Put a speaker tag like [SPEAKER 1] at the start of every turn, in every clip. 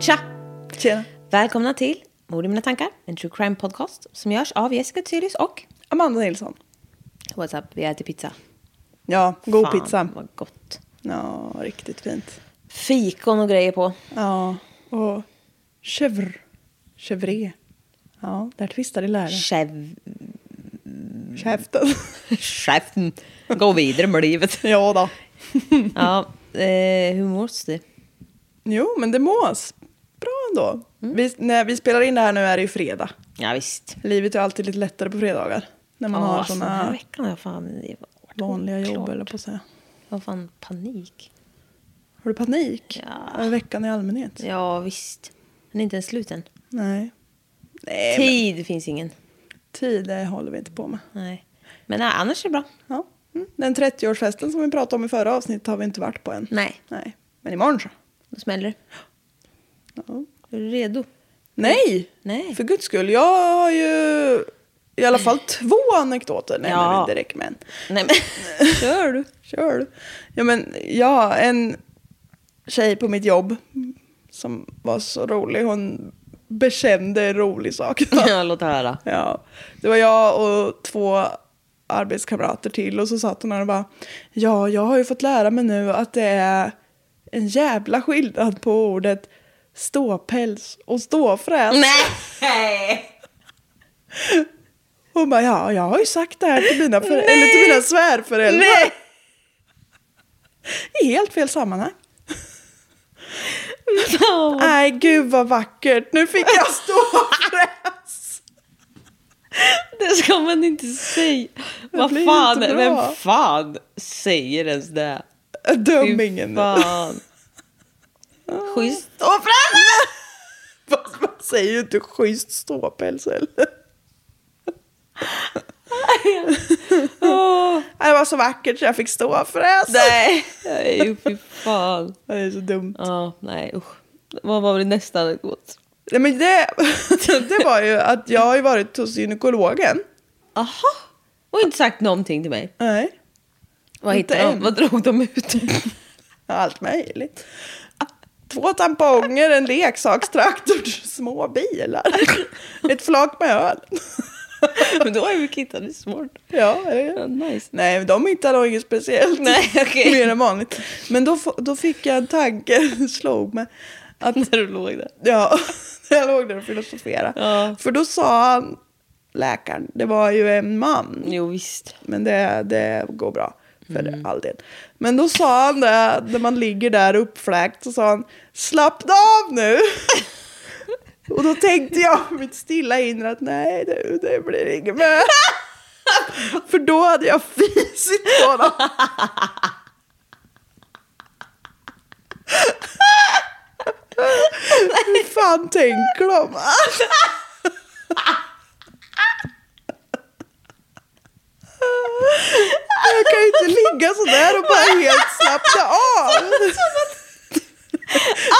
[SPEAKER 1] Tja!
[SPEAKER 2] Tjena.
[SPEAKER 1] Välkomna till Mord i mina tankar, en true crime podcast som görs av Jessica Tyrius och
[SPEAKER 2] Amanda Nilsson.
[SPEAKER 1] What's up, vi äter pizza.
[SPEAKER 2] Ja, god
[SPEAKER 1] Fan,
[SPEAKER 2] pizza.
[SPEAKER 1] vad gott.
[SPEAKER 2] Ja, riktigt fint.
[SPEAKER 1] Fikon och grejer på.
[SPEAKER 2] Ja, och chevr. Chevré. Ja, där tvistar i lära.
[SPEAKER 1] Chef...
[SPEAKER 2] Käften.
[SPEAKER 1] Chefen. Gå vidare med livet.
[SPEAKER 2] ja då.
[SPEAKER 1] ja, eh, hur mår du?
[SPEAKER 2] Jo, men det mås. Bra ändå.
[SPEAKER 1] Mm.
[SPEAKER 2] Vi, när vi spelar in det här nu är det ju fredag.
[SPEAKER 1] Ja, visst.
[SPEAKER 2] Livet är alltid lite lättare på fredagar. När man
[SPEAKER 1] ja,
[SPEAKER 2] har
[SPEAKER 1] alltså, Den här
[SPEAKER 2] sådana
[SPEAKER 1] veckan har jag fan... det var-
[SPEAKER 2] vanliga jobb, eller på att säga.
[SPEAKER 1] Jag har fan panik.
[SPEAKER 2] Har du panik?
[SPEAKER 1] Ja.
[SPEAKER 2] Över veckan i allmänhet?
[SPEAKER 1] Ja, visst. Den är inte ens slut än.
[SPEAKER 2] Nej. Nej, men
[SPEAKER 1] Tid finns ingen.
[SPEAKER 2] tid det håller vi inte på med.
[SPEAKER 1] Nej. Men nej, annars är det bra.
[SPEAKER 2] Ja. Mm. Den 30-årsfesten som vi pratade om i förra avsnittet har vi inte varit på än.
[SPEAKER 1] Nej,
[SPEAKER 2] Nej. Men imorgon så.
[SPEAKER 1] då smäller det.
[SPEAKER 2] Ja.
[SPEAKER 1] Är du redo?
[SPEAKER 2] Nej!
[SPEAKER 1] Nej.
[SPEAKER 2] För guds skull. Jag har ju i alla fall två anekdoter. Nej,
[SPEAKER 1] Ja.
[SPEAKER 2] men inte direkt men.
[SPEAKER 1] Nej, men kör du.
[SPEAKER 2] Kör du. Ja, men ja, en tjej på mitt jobb som var så rolig. Hon bekände en rolig sak.
[SPEAKER 1] Ja, låt höra.
[SPEAKER 2] Ja, det var jag och två arbetskamrater till och så satt hon här och bara Ja, jag har ju fått lära mig nu att det är en jävla skillnad på ordet ståpäls och ståfräs.
[SPEAKER 1] Nej!
[SPEAKER 2] Hon bara, ja, jag har ju sagt det här till mina, för- eller till mina svärföräldrar.
[SPEAKER 1] Nej!
[SPEAKER 2] I helt fel sammanhang.
[SPEAKER 1] Ja.
[SPEAKER 2] Nej, gud vad vackert. Nu fick jag ståfräs.
[SPEAKER 1] Det ska man inte säga. Vad
[SPEAKER 2] blir
[SPEAKER 1] fan,
[SPEAKER 2] inte bra.
[SPEAKER 1] vem fan säger ens det?
[SPEAKER 2] Döm ingen nu.
[SPEAKER 1] fan. Schysst.
[SPEAKER 2] Stå framme! Fast man säger ju inte schysst ståpäls heller.
[SPEAKER 1] Ah.
[SPEAKER 2] Det var så vackert så jag fick stå för det.
[SPEAKER 1] Nej, nej, fy fan.
[SPEAKER 2] Det är så dumt.
[SPEAKER 1] Ja, nej usch. Vad var det nästa anekdot?
[SPEAKER 2] Nej, men det, det var ju att jag har ju varit hos gynekologen.
[SPEAKER 1] Aha. Och inte sagt någonting till mig.
[SPEAKER 2] Nej.
[SPEAKER 1] Vad
[SPEAKER 2] Inte
[SPEAKER 1] hittade de?
[SPEAKER 2] än.
[SPEAKER 1] Vad drog de ut?
[SPEAKER 2] Allt möjligt. Två tamponger, en leksakstraktor, små bilar. Ett flak med öl.
[SPEAKER 1] Men då har ju kittan smart.
[SPEAKER 2] Ja, ja, ja.
[SPEAKER 1] Ja, nice.
[SPEAKER 2] Nej, de hittade nog inget speciellt.
[SPEAKER 1] Nej, okej.
[SPEAKER 2] Mer än vanligt. Men då, f- då fick jag en tanke, slog mig. Att,
[SPEAKER 1] När du låg där.
[SPEAKER 2] ja, jag låg där och filosoferade.
[SPEAKER 1] Ja.
[SPEAKER 2] För då sa han, läkaren, det var ju en man.
[SPEAKER 1] Jo, visst.
[SPEAKER 2] Men det, det går bra, för all del. Men då sa han det, när man ligger där uppfläkt, så sa han, slappna av nu. och då tänkte jag, mitt stilla inre, att nej, det, det blir inget med. för då hade jag fisit på honom. Hur fan tänker de? Jag kan ju inte ligga sådär och bara helt slappna av.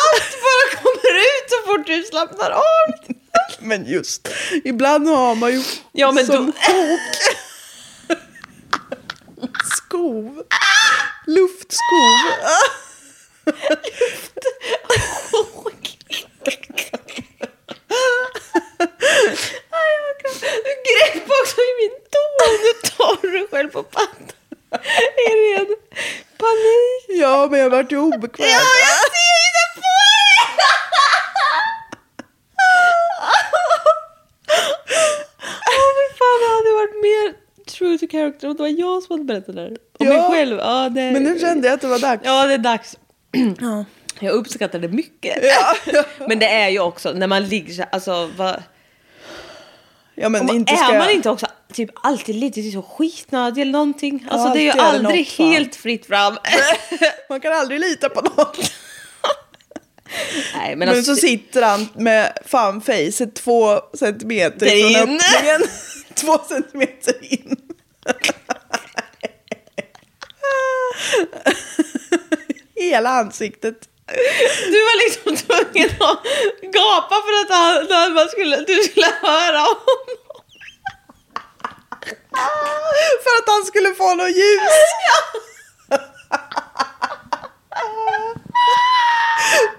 [SPEAKER 1] Allt bara kommer ut så fort du slappnar av.
[SPEAKER 2] Men just, ibland har man ju
[SPEAKER 1] Ja, men
[SPEAKER 2] som
[SPEAKER 1] då-
[SPEAKER 2] kok.
[SPEAKER 1] på pannan. Är ren panik.
[SPEAKER 2] Ja, men jag vart ju obekväm. Ah.
[SPEAKER 1] Ja, jag ser ju det på dig! Åh, fy fan, det hade varit mer true to character om det var jag som hade berättat det här. Om mig
[SPEAKER 2] Ja.
[SPEAKER 1] själv. Ja, det...
[SPEAKER 2] Men nu kände jag att det var dags.
[SPEAKER 1] Ja, det är dags. Jag uppskattar det mycket. Men det är ju också när man ligger så här, alltså vad...
[SPEAKER 2] Ja, men
[SPEAKER 1] Om-
[SPEAKER 2] inte
[SPEAKER 1] är
[SPEAKER 2] ska
[SPEAKER 1] man
[SPEAKER 2] jag-
[SPEAKER 1] inte också typ alltid lite så skitnödig eller någonting? Alltså det är ju
[SPEAKER 2] alltid är det
[SPEAKER 1] aldrig
[SPEAKER 2] något, fan.
[SPEAKER 1] helt fritt fram.
[SPEAKER 2] Man kan aldrig lita på någon.
[SPEAKER 1] Nej, men,
[SPEAKER 2] Men,
[SPEAKER 1] alltså,
[SPEAKER 2] så sitter han med fan facet två centimeter
[SPEAKER 1] Där
[SPEAKER 2] från
[SPEAKER 1] inne.
[SPEAKER 2] öppningen. två centimeter in. Hela ansiktet.
[SPEAKER 1] du var liksom tvungen att gapa för att han, när man skulle, du skulle höra honom.
[SPEAKER 2] För att han skulle få något ljus.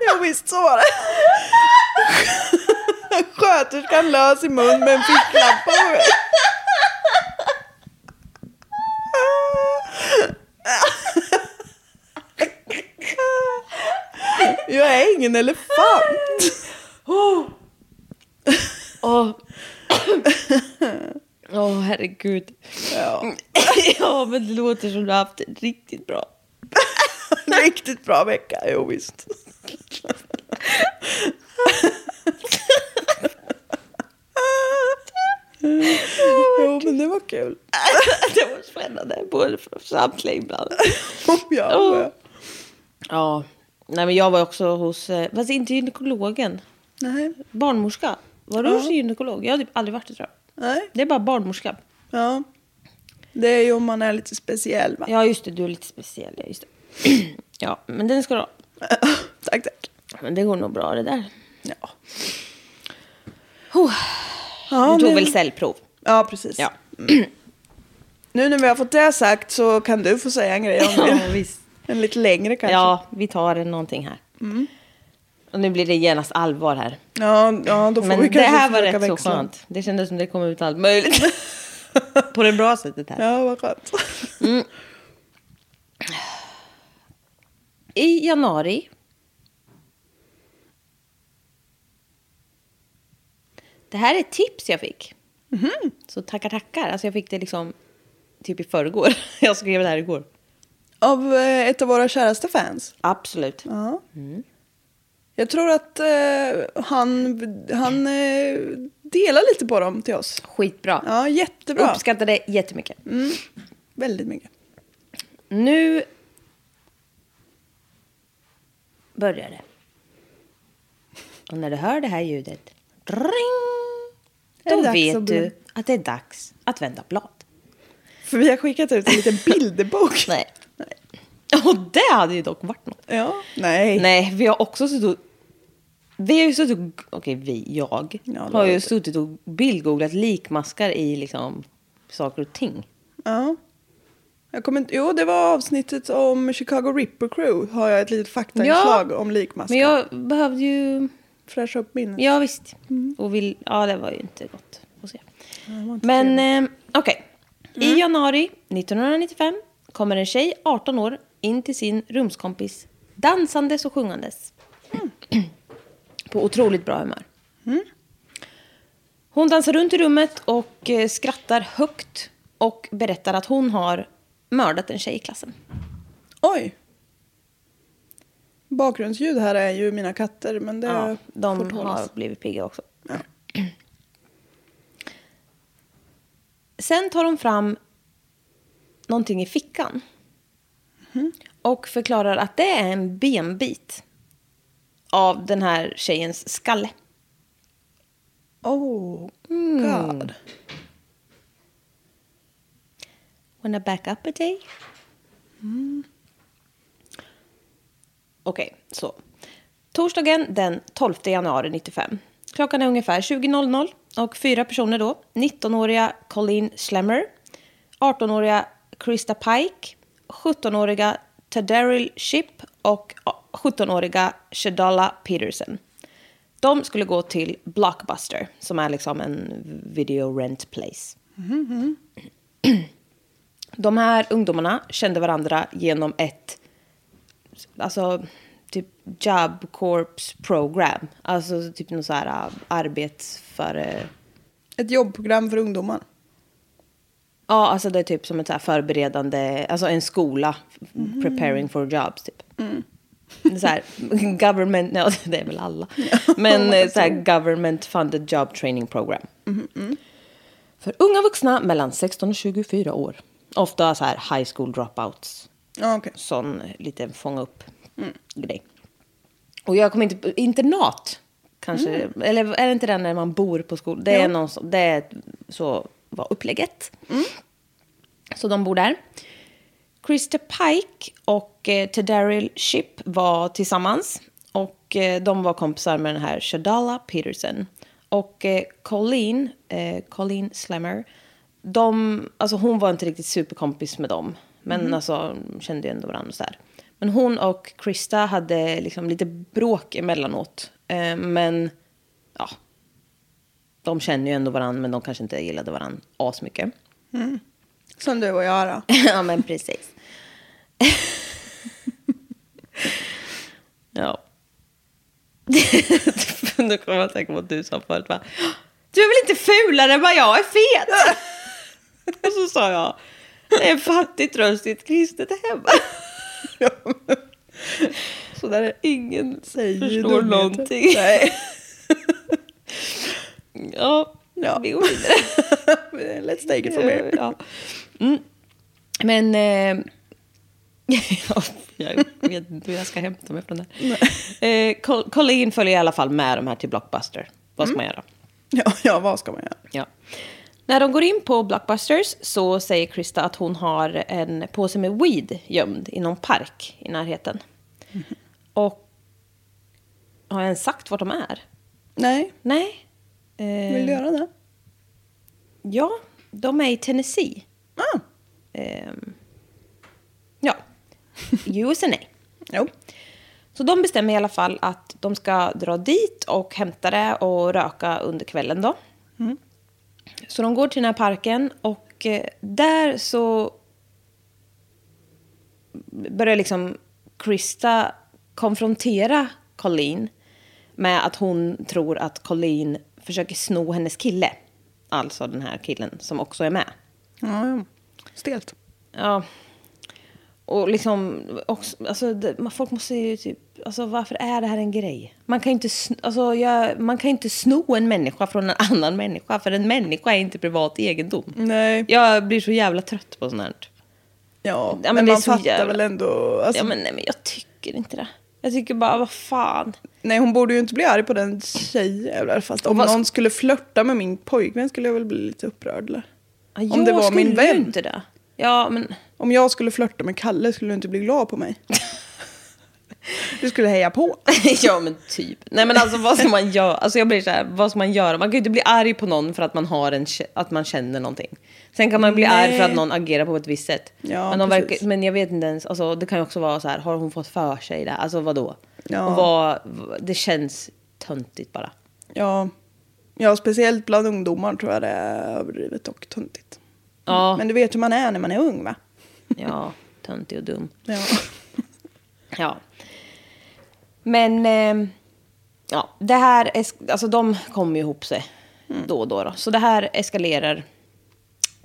[SPEAKER 2] Ja visst så var det. Sköterskan lös i mun med en ficklampa. Jag är ingen elefant.
[SPEAKER 1] Åh, Åh, herregud.
[SPEAKER 2] Ja,
[SPEAKER 1] ja, men det låter som du har haft det riktigt bra.
[SPEAKER 2] riktigt bra vecka, jo visst. Jo men det var kul.
[SPEAKER 1] det var spännande, både för samtliga inblandade.
[SPEAKER 2] Oh, ja, oh. ja.
[SPEAKER 1] Ja, nej men jag var också hos, eh, fast inte gynekologen,
[SPEAKER 2] Nej.
[SPEAKER 1] barnmorska. Var du hos gynekolog? Jag har typ aldrig varit det tror jag.
[SPEAKER 2] Nej.
[SPEAKER 1] Det är bara barnmorska.
[SPEAKER 2] Ja. Det är ju om man är lite speciell va?
[SPEAKER 1] Ja just det, du är lite speciell. Ja, just det. ja men den ska du ha.
[SPEAKER 2] tack tack.
[SPEAKER 1] Men det går nog bra det där.
[SPEAKER 2] Ja.
[SPEAKER 1] Oh,
[SPEAKER 2] Ja,
[SPEAKER 1] du tog
[SPEAKER 2] nu-
[SPEAKER 1] väl cellprov?
[SPEAKER 2] Ja precis.
[SPEAKER 1] Ja.
[SPEAKER 2] Nu när vi har fått det sagt så kan du få säga en grej om
[SPEAKER 1] ja
[SPEAKER 2] det.
[SPEAKER 1] visst.
[SPEAKER 2] En lite längre kanske. Mm.
[SPEAKER 1] Ja, vi tar en någonting här. Och nu blir det genast allvar här.
[SPEAKER 2] ja, ja då får
[SPEAKER 1] Men
[SPEAKER 2] vi kanske
[SPEAKER 1] det här var
[SPEAKER 2] försöka
[SPEAKER 1] rätt så
[SPEAKER 2] växla.
[SPEAKER 1] skönt. Det kändes som det kom ut allt möjligt. På det bra sättet här.
[SPEAKER 2] Ja vad skönt.
[SPEAKER 1] I januari. Det här är ett tips jag fick.
[SPEAKER 2] Mhm.
[SPEAKER 1] Så tackar, tackar. Alltså jag fick det liksom typ i förrgår. Jag skrev det här igår.
[SPEAKER 2] Av eh, ett av våra käraste fans.
[SPEAKER 1] Absolut.
[SPEAKER 2] Ja.
[SPEAKER 1] Mm.
[SPEAKER 2] Jag tror att eh, han, han eh, delar lite på dem till oss.
[SPEAKER 1] Skitbra.
[SPEAKER 2] Ja, jättebra.
[SPEAKER 1] Uppskattar det jättemycket.
[SPEAKER 2] Mm. Väldigt mycket.
[SPEAKER 1] Nu börjar det. Och när du hör det här ljudet, ring,
[SPEAKER 2] Är
[SPEAKER 1] då
[SPEAKER 2] det dags att
[SPEAKER 1] vet
[SPEAKER 2] bli-
[SPEAKER 1] du att det är dags att vända blad.
[SPEAKER 2] För vi har skickat ut en liten bilderbok.
[SPEAKER 1] Nej. Och det hade ju dock varit något.
[SPEAKER 2] Ja, nej.
[SPEAKER 1] Nej, vi har också suttit och... Vi har ju suttit och... Okej, vi, jag.
[SPEAKER 2] Ja, det
[SPEAKER 1] har
[SPEAKER 2] har
[SPEAKER 1] ju
[SPEAKER 2] du.
[SPEAKER 1] suttit och bildgooglat likmaskar i liksom saker och ting.
[SPEAKER 2] Ja. Jag kommer inte, jo, det var avsnittet om Chicago Ripper Crew. Har jag ett litet faktainslag om likmaskar.
[SPEAKER 1] Men jag behövde ju...
[SPEAKER 2] Fräscha upp minnet.
[SPEAKER 1] Ja, visst. Och vill... Ja, det var ju inte gott att se.
[SPEAKER 2] Mm. var inte Mm.
[SPEAKER 1] Men eh, okej. I januari 1995 kommer en tjej, 18 år, in till sin rumskompis dansandes och sjungandes.
[SPEAKER 2] Mm.
[SPEAKER 1] På otroligt bra humör. Hon dansar runt i rummet och eh, skrattar högt och berättar att hon har mördat en tjej i klassen.
[SPEAKER 2] Oj! Bakgrundsljud här är ju mina katter, men det
[SPEAKER 1] Ja, de
[SPEAKER 2] förtalas.
[SPEAKER 1] har blivit pigga också. Sen tar hon fram någonting i fickan. Och förklarar att det är en benbit av den här tjejens skalle.
[SPEAKER 2] Oh, god.
[SPEAKER 1] Wanna back up a day? Mm. Okej, så. Torsdagen den 12 januari 95. Klockan är ungefär 20.00 och fyra personer då. 19-åriga Colleen Schlemmer, 18-åriga Krista Pike, 17-åriga Tadaryl Ship och 17-åriga Shadala Peterson. De skulle gå till Blockbuster, som är liksom en video rent place. De här ungdomarna kände varandra genom ett alltså, typ Job Corps program. Alltså typ något så här äh, arbets för... eh,
[SPEAKER 2] Ett jobbprogram för ungdomar.
[SPEAKER 1] Ja, alltså det är typ som ett så här förberedande, alltså en skola, preparing for jobs typ. Det är Så här, government, nej det är väl alla. Men eh, så här, government funded job training program. För unga vuxna mellan 16 och 24 år. Ofta så här high school dropouts.
[SPEAKER 2] Ja, okej.
[SPEAKER 1] Sån liten fånga upp grej. Och jag kommer inte, internat kanske, eller är det inte den när man bor på skolan? Det är, någon, som- det är så var upplägget. Så de bor där. Krista Pike och eh, Teddaryl Ship var tillsammans. Och eh, de var kompisar med den här Shadala Peterson. Och eh, Colleen, eh, Colleen Slammer, de, alltså hon var inte riktigt superkompis med dem. Men alltså, de kände ju ändå varandra och sådär. Men hon och Krista hade liksom lite bråk emellanåt. Eh, men ja, de känner ju ändå varandra, men de kanske inte gillade varandra asmycket.
[SPEAKER 2] Som du och jag då.
[SPEAKER 1] ja, men precis. ja. nu kommer jag att tänka på vad du sa förut. Va? Du är väl inte fulare än vad jag är fet? Och så sa jag, det är en fattig tröst i ett kristet hem. så där är ingen
[SPEAKER 2] Säger ju
[SPEAKER 1] förstår
[SPEAKER 2] dumheter.
[SPEAKER 1] någonting.
[SPEAKER 2] Nej.
[SPEAKER 1] ja,
[SPEAKER 2] Ja.
[SPEAKER 1] vi går vidare.
[SPEAKER 2] Let's take it from here.
[SPEAKER 1] Ja. Mm. Men... Eh, ja, jag vet inte hur jag ska hämta mig från det. Eh, Col- Colleen följer i alla fall med de här till Blockbuster. Vad ska man
[SPEAKER 2] Mm.
[SPEAKER 1] göra?
[SPEAKER 2] Ja, ja, vad ska man göra?
[SPEAKER 1] Ja. När de går in på Blockbusters så säger Krista att hon har en påse med weed gömd i någon park i närheten.
[SPEAKER 2] Mm-hmm.
[SPEAKER 1] Och... Har jag ens sagt vart de är?
[SPEAKER 2] Nej,
[SPEAKER 1] Nej.
[SPEAKER 2] vill du
[SPEAKER 1] Eh,
[SPEAKER 2] göra det?
[SPEAKER 1] ja, de är i Tennessee.
[SPEAKER 2] Ah,
[SPEAKER 1] Ehm, ja, USA.
[SPEAKER 2] jo.
[SPEAKER 1] Så de bestämmer i alla fall att de ska dra dit och hämta det och röka under kvällen då. Så de går till den här parken och eh, där så börjar liksom Krista konfrontera Colleen med att hon tror att Colleen försöker sno hennes kille. Alltså den här killen som också är med.
[SPEAKER 2] Ja, ja. Stelt.
[SPEAKER 1] Ja. Och liksom, också, alltså, det, man- folk måste ju typ, alltså varför är det här en grej? Man kan ju inte, sn- alltså, jag, man kan ju inte sno en människa från en annan människa, för en människa är inte privat egendom.
[SPEAKER 2] Nej.
[SPEAKER 1] Jag blir så jävla trött på sånt här.
[SPEAKER 2] Alltså- Ja,
[SPEAKER 1] men
[SPEAKER 2] men,
[SPEAKER 1] det är
[SPEAKER 2] man
[SPEAKER 1] så
[SPEAKER 2] fattar
[SPEAKER 1] jävla-
[SPEAKER 2] väl ändå. Alltså,
[SPEAKER 1] Ja, men, nej, men jag tycker inte det. Jag tycker bara, vad fan.
[SPEAKER 2] Nej, hon borde ju inte bli arg på den tjejjävlar. Fast om
[SPEAKER 1] vad-
[SPEAKER 2] någon skulle flörta med min pojkvän skulle jag väl bli lite upprörd. Eller?
[SPEAKER 1] Ja,
[SPEAKER 2] Om det
[SPEAKER 1] jag
[SPEAKER 2] var min
[SPEAKER 1] skulle ju
[SPEAKER 2] vän.
[SPEAKER 1] inte det. Ja, men...
[SPEAKER 2] Om jag skulle flörta med Kalle skulle du inte bli glad på mig. Du skulle heja på.
[SPEAKER 1] ja men typ. Nej men alltså vad ska man göra? Alltså jag blir så här, vad ska man göra? Man kan ju inte bli arg på någon för att man, har en, kä- att man känner någonting. Sen kan man bli
[SPEAKER 2] Nej.
[SPEAKER 1] arg för att någon agerar på ett visst sätt.
[SPEAKER 2] Ja,
[SPEAKER 1] men, de
[SPEAKER 2] precis.
[SPEAKER 1] verkar, men jag vet inte ens, alltså, det kan ju också vara så här, har hon fått för sig det? Alltså vadå?
[SPEAKER 2] Ja.
[SPEAKER 1] Och vad, det känns töntigt bara.
[SPEAKER 2] Ja. ja, speciellt bland ungdomar tror jag det är överdrivet och töntigt.
[SPEAKER 1] Ja,
[SPEAKER 2] Men du vet hur man är när man är ung va?
[SPEAKER 1] ja töntig och dum.
[SPEAKER 2] Ja.
[SPEAKER 1] Ja. Men ehm, ja, det här, es- alltså de kommer ju ihop sig
[SPEAKER 2] Mm.
[SPEAKER 1] då och då, då. Så det här eskalerar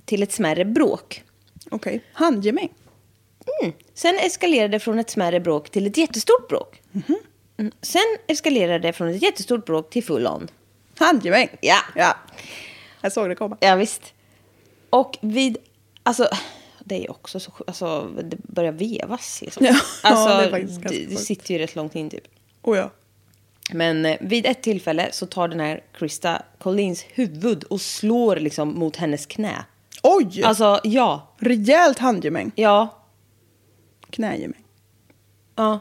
[SPEAKER 1] till ett smärre bråk.
[SPEAKER 2] Okej, handgemäng.
[SPEAKER 1] Mm. Sen eskalerade det från ett smärre bråk till ett jättestort bråk.
[SPEAKER 2] Mhm.
[SPEAKER 1] Mm. Sen eskalerade det från ett jättestort bråk till full on.
[SPEAKER 2] Handgemäng!
[SPEAKER 1] Ja.
[SPEAKER 2] ja. Jag såg det komma.
[SPEAKER 1] Ja, visst. Och vid... Alltså, det är ju också så sjukt. Alltså, det börjar vevas liksom.
[SPEAKER 2] Ja,
[SPEAKER 1] alltså,
[SPEAKER 2] ja, det är faktiskt ganska
[SPEAKER 1] det, det
[SPEAKER 2] sjukt.
[SPEAKER 1] sitter ju rätt långt in typ.
[SPEAKER 2] Oh, ja.
[SPEAKER 1] Men eh, vid ett tillfälle så tar den här Krista Collins huvud och slår liksom mot hennes knä.
[SPEAKER 2] Oj!
[SPEAKER 1] Alltså, ja.
[SPEAKER 2] Rejält handgemäng.
[SPEAKER 1] Ja.
[SPEAKER 2] Knägemäng.
[SPEAKER 1] Ja.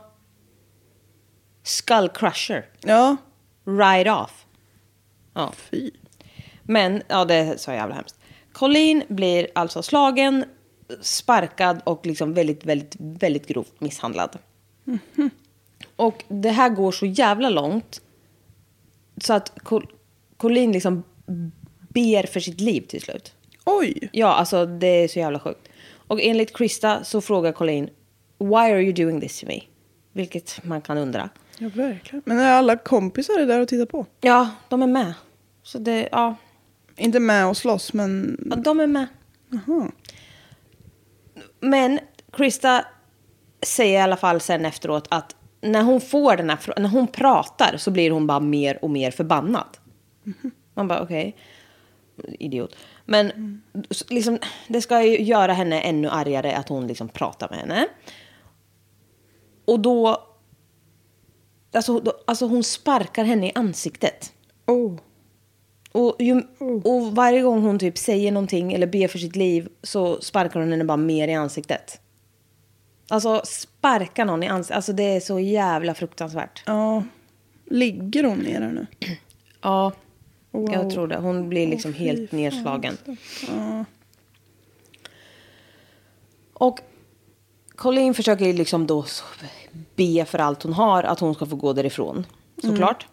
[SPEAKER 1] Skull crusher.
[SPEAKER 2] Ja.
[SPEAKER 1] Right off. Ja.
[SPEAKER 2] Fy.
[SPEAKER 1] Men, ja det är så jävla hemskt. Colleen blir alltså slagen, sparkad och liksom väldigt, väldigt, väldigt grovt misshandlad. Och det här går så jävla långt så att Col- Colleen liksom ber för sitt liv till slut.
[SPEAKER 2] Oj!
[SPEAKER 1] Ja, alltså det är så jävla sjukt. Och enligt Krista så frågar Colleen Why are you doing this to me? Vilket man kan undra.
[SPEAKER 2] Ja, verkligen. Men är alla kompisar är där och tittar på?
[SPEAKER 1] Ja, de är med. Så det, ja,
[SPEAKER 2] Inte med och slåss, men...
[SPEAKER 1] ja de är med. Men Krista säger i alla fall sen efteråt att när hon får den här frå- när hon pratar så blir hon bara mer och mer förbannad. Man bara okej, idiot. Men s- liksom, det ska ju göra henne ännu argare att hon liksom pratar med henne. Och då, alltså, då, alltså hon sparkar henne i ansiktet.
[SPEAKER 2] Oh.
[SPEAKER 1] Och, ju, och varje gång hon typ säger någonting eller ber för sitt liv så sparkar hon henne bara mer i ansiktet. Alltså sparka någon i ansiktet, alltså det är så jävla fruktansvärt.
[SPEAKER 2] Ja. Ligger hon ner här nu?
[SPEAKER 1] Ja,
[SPEAKER 2] Wow.
[SPEAKER 1] jag tror det. Hon blir liksom helt nedslagen. Och Colleen försöker ju liksom då så- be för allt hon har att hon ska få gå därifrån. Såklart.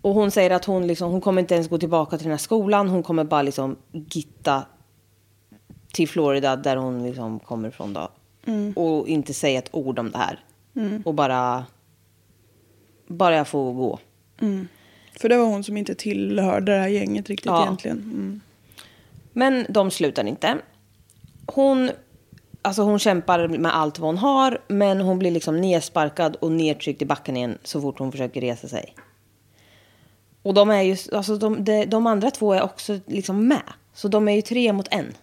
[SPEAKER 1] Och hon säger att hon, liksom, hon kommer inte ens gå tillbaka till den här skolan. Hon kommer bara liksom gitta till Florida där hon liksom kommer ifrån då. Och inte säga ett ord om det här. Och bara... Bara jag får gå.
[SPEAKER 2] För det var hon som inte tillhörde det här gänget riktigt
[SPEAKER 1] Ja.
[SPEAKER 2] egentligen. Mm.
[SPEAKER 1] Men de slutar inte. Hon, alltså hon kämpar med allt vad hon har, men hon blir liksom nedsparkad och nedtryckt i backen igen så fort hon försöker resa sig. Och de, är ju, alltså de, de, de andra två är också liksom med, så de är ju tre mot en.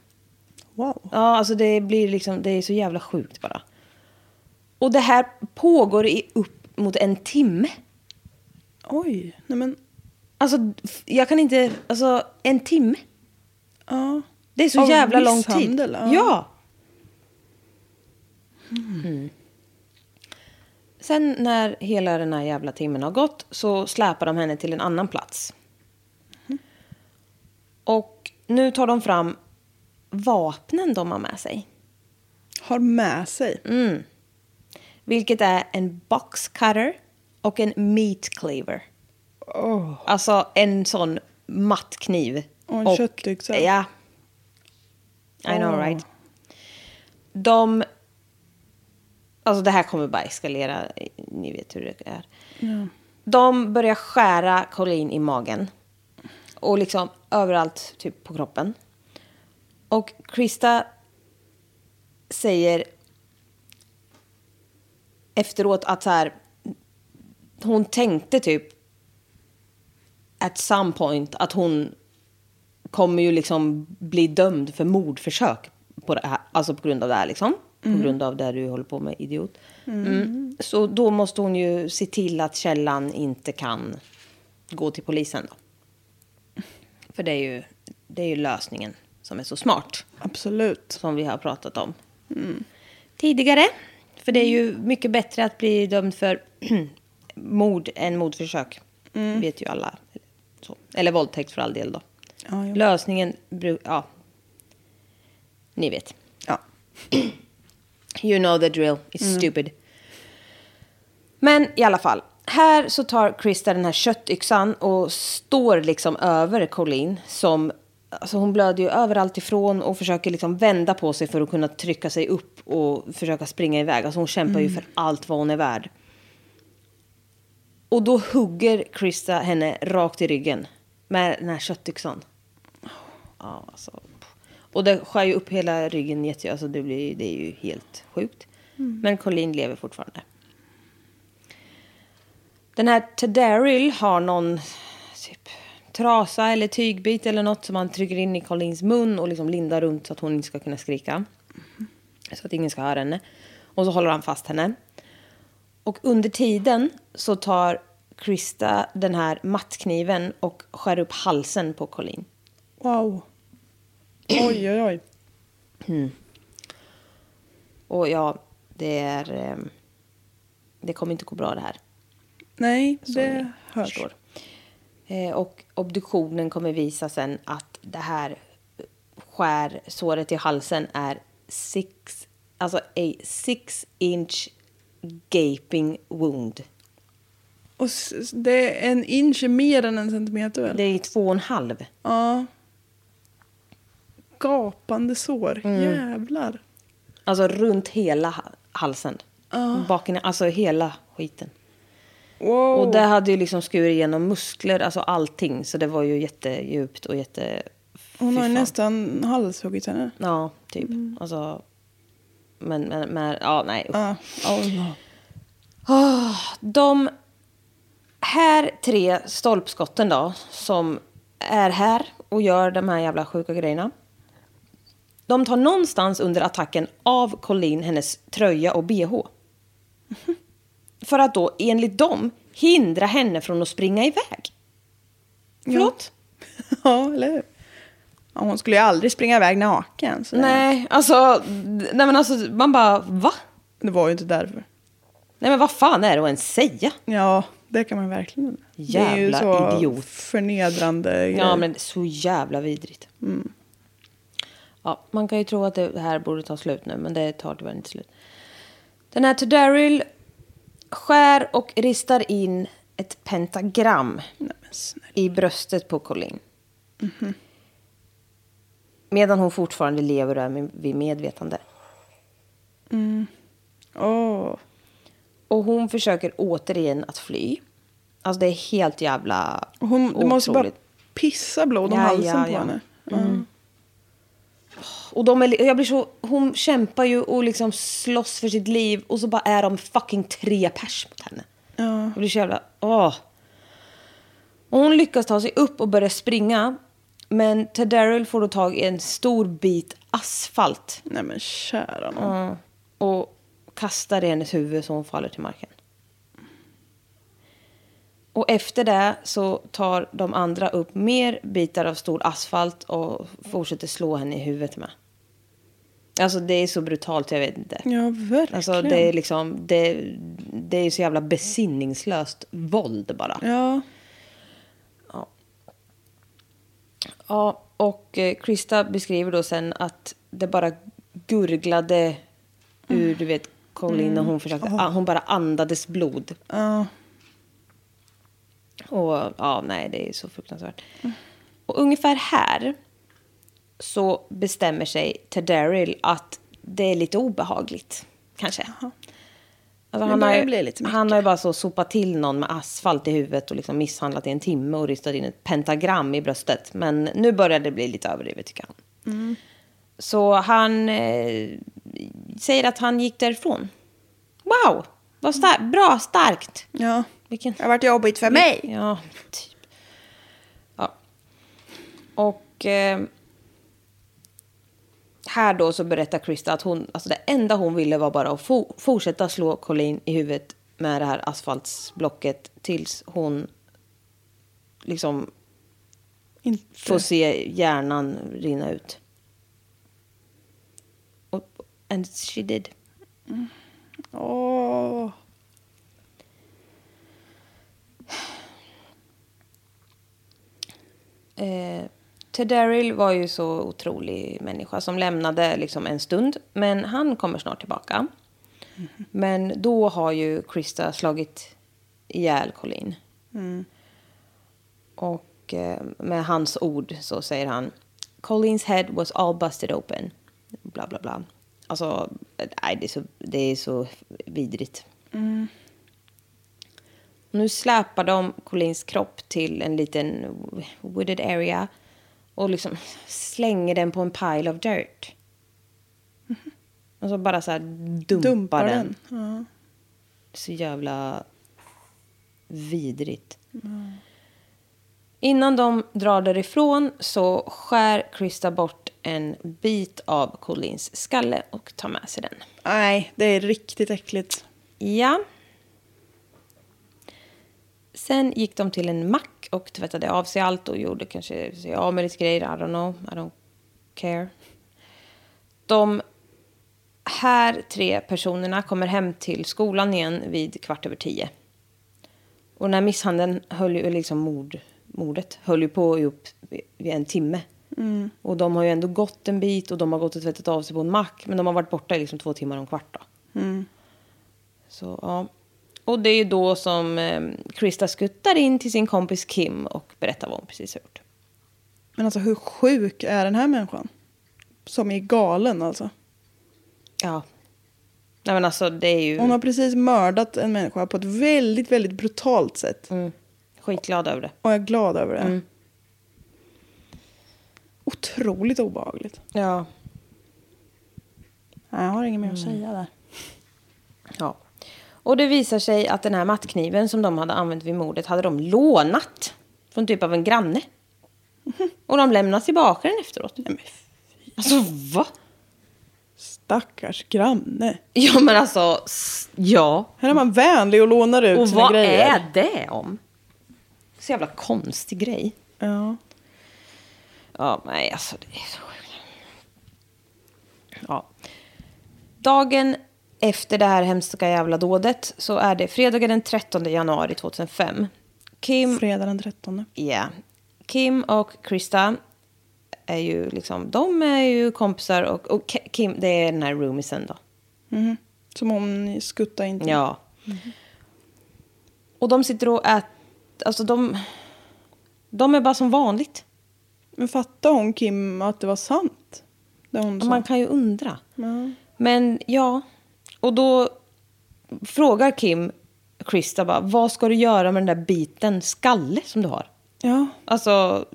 [SPEAKER 2] Wow.
[SPEAKER 1] Ja, alltså det blir liksom, det är så jävla sjukt bara. Och det här pågår i upp mot en timme.
[SPEAKER 2] Oj. Nej men,
[SPEAKER 1] Alltså, f- jag kan inte, alltså en timme.
[SPEAKER 2] ja.
[SPEAKER 1] Det är så
[SPEAKER 2] Av
[SPEAKER 1] jävla lång tid.
[SPEAKER 2] misshandel, ja.
[SPEAKER 1] Mm. Sen när hela den här jävla timmen har gått så släpar de henne till en annan plats.
[SPEAKER 2] Mm.
[SPEAKER 1] Och nu tar de fram vapnen de har med sig.
[SPEAKER 2] Har med sig.
[SPEAKER 1] Mm. Vilket är en box cutter och en meat cleaver. Alltså en sån mattkniv.
[SPEAKER 2] Och en köttyxa.
[SPEAKER 1] Ja. I know
[SPEAKER 2] Åh.
[SPEAKER 1] right. De... Alltså det här kommer bara eskalera. Ni vet hur det är. De börjar skära Colleen i magen. Och liksom överallt typ på kroppen. Och Krista säger efteråt att så här, hon tänkte typ at some point att hon kommer ju liksom bli dömd för mordförsök på det här, alltså på grund av det här liksom. På grund av det du håller på med, idiot. Mm. Så då måste hon ju se till att källan inte kan gå till polisen då. För det är ju, det är ju lösningen som är så smart
[SPEAKER 2] Absolut.
[SPEAKER 1] som vi har pratat om Mm. tidigare. För det är ju mycket bättre att bli dömd för mord än mordförsök. vet ju alla. Så. Eller våldtäkt för all del då.
[SPEAKER 2] Ja, jo.
[SPEAKER 1] Lösningen, bru- ja. Ni vet.
[SPEAKER 2] Ja.
[SPEAKER 1] You know the drill. It's stupid. Men i alla fall. Här så tar Krista den här köttyxan och står liksom över Colleen som... Alltså hon blöder ju överallt ifrån och försöker liksom vända på sig för att kunna trycka sig upp och försöka springa iväg. Alltså hon kämpar ju för allt vad hon är värd. Och då hugger Krista henne rakt i ryggen med den här köttyxan. Ja, alltså. Och det skär ju upp hela ryggen jätte, alltså det, blir, det är ju helt sjukt. Men Colleen lever fortfarande. Den här Tadaryl har någon typ, trasa eller tygbit eller något som han trycker in i Colleens mun och liksom lindar runt så att hon inte ska kunna skrika. Så att ingen ska höra henne. Och så håller han fast henne. Och under tiden så tar Krista den här mattkniven och skär upp halsen på Colleen.
[SPEAKER 2] Wow. Oj, oj, oj.
[SPEAKER 1] Och ja, det är... ehm, Det kommer inte gå bra det här.
[SPEAKER 2] Nej,
[SPEAKER 1] som ni
[SPEAKER 2] det hörs.
[SPEAKER 1] förstår. Eh, Och obduktionen kommer visa sen att det här skär, såret i halsen är six, alltså a six inch gaping wound.
[SPEAKER 2] Och s- s- det är en inch är mer än en centimeter väl?
[SPEAKER 1] Det är två och en halv. Mm.
[SPEAKER 2] Ja. Gapande sår. Jävlar.
[SPEAKER 1] Alltså runt hela ha- halsen. Baken, alltså hela skiten.
[SPEAKER 2] Wow.
[SPEAKER 1] Och det hade ju liksom skurit igenom muskler, alltså allting. Så det var ju jättedjupt och jätte...
[SPEAKER 2] Hon
[SPEAKER 1] fy
[SPEAKER 2] har ju
[SPEAKER 1] fan.
[SPEAKER 2] nästan Mm. halshuggit henne.
[SPEAKER 1] Ja, typ. Alltså... Men, men, men, ja, nej. usch.
[SPEAKER 2] Ja. Oh, no.
[SPEAKER 1] Ah, De här tre stolpskotten då, som är här och gör de här jävla sjuka grejerna. De tar någonstans under attacken av Colleen hennes tröja och bh. För att då, enligt dem, hindra henne från att springa iväg. Förlåt?
[SPEAKER 2] ja, eller hur? Ja, hon skulle ju aldrig springa iväg naken. Så det-
[SPEAKER 1] Nej, alltså, nej men alltså, man bara, va?
[SPEAKER 2] Det var ju inte därför.
[SPEAKER 1] Nej men vad fan är det att ens säga?
[SPEAKER 2] Ja, det kan man verkligen. det är ju
[SPEAKER 1] Jävla
[SPEAKER 2] så
[SPEAKER 1] idiot.
[SPEAKER 2] förnedrande
[SPEAKER 1] Ja,
[SPEAKER 2] grejer.
[SPEAKER 1] men så jävla vidrigt. Mm. Ja, man kan ju tro att det det här borde ta slut nu, men det tar tyvärr inte slut. Den här Daryl skär och ristar in ett pentagram
[SPEAKER 2] Nej, men snälla. Mhm.
[SPEAKER 1] i bröstet på Colin. Medan hon fortfarande lever och är med- vid medvetande.
[SPEAKER 2] Åh.
[SPEAKER 1] Och hon försöker återigen att fly. Alltså det är helt jävla
[SPEAKER 2] Hon, det måste ju bara
[SPEAKER 1] otroligt.
[SPEAKER 2] pissa blod om
[SPEAKER 1] Ja,
[SPEAKER 2] halsen
[SPEAKER 1] ja,
[SPEAKER 2] på
[SPEAKER 1] ja. Mm.
[SPEAKER 2] henne.
[SPEAKER 1] Och de är, jag blir så, hon kämpar ju och liksom slåss för sitt liv och så bara är de fucking tre pers mot henne.
[SPEAKER 2] Ja.
[SPEAKER 1] Jag blir så jävla... Åh. Och hon lyckas ta sig upp och börja springa. Men Ted Daryl får då tag i en stor bit asfalt
[SPEAKER 2] Nej men kära nån.
[SPEAKER 1] Mm. och kastar i hennes huvud så hon faller till marken. Och efter det så tar de andra upp mer bitar av stor asfalt och fortsätter slå henne i huvudet med. Alltså det är så brutalt, jag vet inte.
[SPEAKER 2] Ja, verkligen.
[SPEAKER 1] Alltså det är liksom, det, det är så jävla besinningslöst våld bara.
[SPEAKER 2] Ja.
[SPEAKER 1] Ja, och eh, Krista beskriver då sen att det bara gurglade ur, du vet, Colin och hon försökte, ah, hon bara andades blod.
[SPEAKER 2] ja.
[SPEAKER 1] Och ja, nej, det är så fruktansvärt. Och ungefär här så bestämmer sig Ted Daryl att det är lite obehagligt, kanske. Alltså, han, har
[SPEAKER 2] börjar
[SPEAKER 1] ju,
[SPEAKER 2] bli lite mycket.
[SPEAKER 1] han har ju bara så sopat till någon med asfalt i huvudet och liksom misshandlat i en timme och ristat in ett pentagram i bröstet. Men nu börjar det bli lite överdrivet, tycker han.
[SPEAKER 2] Mm.
[SPEAKER 1] Så han eh, säger att han gick därifrån. Wow! Vad star- bra, starkt!
[SPEAKER 2] Ja.
[SPEAKER 1] Vilken
[SPEAKER 2] Det har varit jobbigt för mig.
[SPEAKER 1] Ja, typ. Ja. Och eh, här då så berättar Krista att hon, alltså det enda hon ville var bara att fo- fortsätta slå Colleen i huvudet med det här asfaltsblocket tills hon liksom
[SPEAKER 2] Inte.
[SPEAKER 1] får se hjärnan rinna ut. Och, and she did.
[SPEAKER 2] Åh.
[SPEAKER 1] Eh, Ted Daryl var ju så otrolig människa som lämnade liksom en stund. Men han kommer snart tillbaka. Men då har ju Krista slagit ihjäl Colleen. Och eh, med hans ord så säger han Colleens head was all busted open. Bla, bla, bla. Alltså, nej, det är så, det är så vidrigt.
[SPEAKER 2] Mm.
[SPEAKER 1] Nu släpar de Collins kropp till en liten wooded area och liksom slänger den på en pile of dirt. Och så bara så här dumpar,
[SPEAKER 2] Mm-hmm. Dumpar
[SPEAKER 1] den.
[SPEAKER 2] den. Ja.
[SPEAKER 1] Så jävla vidrigt. Innan de drar därifrån så skär Krista bort en bit av Collins skalle och tar med sig den.
[SPEAKER 2] Nej, det är riktigt äckligt.
[SPEAKER 1] Ja. Sen gick de till en mack och tvättade av sig allt och gjorde kanske sig av med lite grejer. I don't know. I don't care. De här tre personerna kommer hem till skolan igen vid kvart över tio. Och den här misshandeln höll ju, liksom mord, mordet, höll ju på i upp i en timme. Och de har ju ändå gått en bit och de har gått och tvättat av sig på en mack. Men de har varit borta i liksom två timmar och en kvart då. Så, ja. Och det är ju då som eh, Krista skuttar in till sin kompis Kim och berättar vad hon precis har gjort.
[SPEAKER 2] Men alltså hur sjuk är den här människan? Som är galen alltså.
[SPEAKER 1] Ja. Nej men alltså det är ju
[SPEAKER 2] Hon har precis mördat en människa på ett väldigt, väldigt brutalt sätt.
[SPEAKER 1] mm, skitglad över det.
[SPEAKER 2] Och jag är glad över det.
[SPEAKER 1] Mm.
[SPEAKER 2] Otroligt obehagligt.
[SPEAKER 1] Ja.
[SPEAKER 2] Nej, Jag har inget mer att säga där.
[SPEAKER 1] ja. Och det visar sig att den här mattkniven som de hade använt vid mordet hade de lånat från typ av en granne. Och de lämnade tillbaka den efteråt. Nej, men alltså va?
[SPEAKER 2] Stackars granne.
[SPEAKER 1] Ja men alltså, s- ja.
[SPEAKER 2] Här är man vänlig och lånar ut
[SPEAKER 1] Och
[SPEAKER 2] sina
[SPEAKER 1] vad
[SPEAKER 2] grejer.
[SPEAKER 1] är det om? Så jävla konstig grej.
[SPEAKER 2] Ja.
[SPEAKER 1] Ja, nej alltså det är så sjukt. Ja. Dagen efter det här hemska jävla dådet så är det fredagen den 13 januari 2005. Kim,
[SPEAKER 2] Fredag den 13.
[SPEAKER 1] ja Kim och Krista är ju liksom, de är ju kompisar och, och Ke- Kim, det är den här roomisen då.
[SPEAKER 2] Mhm. Som hon skuttade in till.
[SPEAKER 1] Ja. Och de sitter och äter, alltså de, de är bara som vanligt.
[SPEAKER 2] Men fattade hon Kim att det var sant? Det hon sa.
[SPEAKER 1] Man kan ju undra.
[SPEAKER 2] Ja.
[SPEAKER 1] Men ja, och då frågar Kim Krista bara, vad ska du göra med den där biten skalle som du har?
[SPEAKER 2] ja.
[SPEAKER 1] Alltså,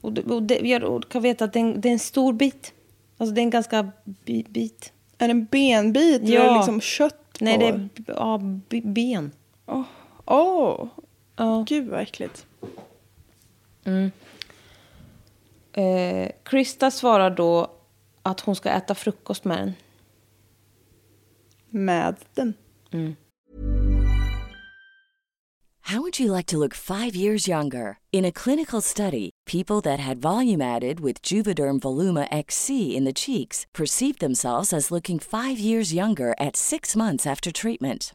[SPEAKER 1] och, det- och, det, jag- och kan veta att det är, en, det är en stor bit. Alltså det är en ganska bi, bit.
[SPEAKER 2] Är det en benbit?
[SPEAKER 1] Ja.
[SPEAKER 2] Eller är det liksom kött
[SPEAKER 1] Nej,
[SPEAKER 2] på?
[SPEAKER 1] det är b- ja, b, ben.
[SPEAKER 2] Åh, Åh.
[SPEAKER 1] Ja.
[SPEAKER 2] gud vad äckligt.
[SPEAKER 1] Eh, Krista svarar då att hon ska äta frukost med den.
[SPEAKER 2] Med den.
[SPEAKER 3] How would you like to look five years younger? In a clinical study, people that had volume added with Juvederm Voluma XC in the cheeks perceived themselves as looking five years younger at six months after treatment.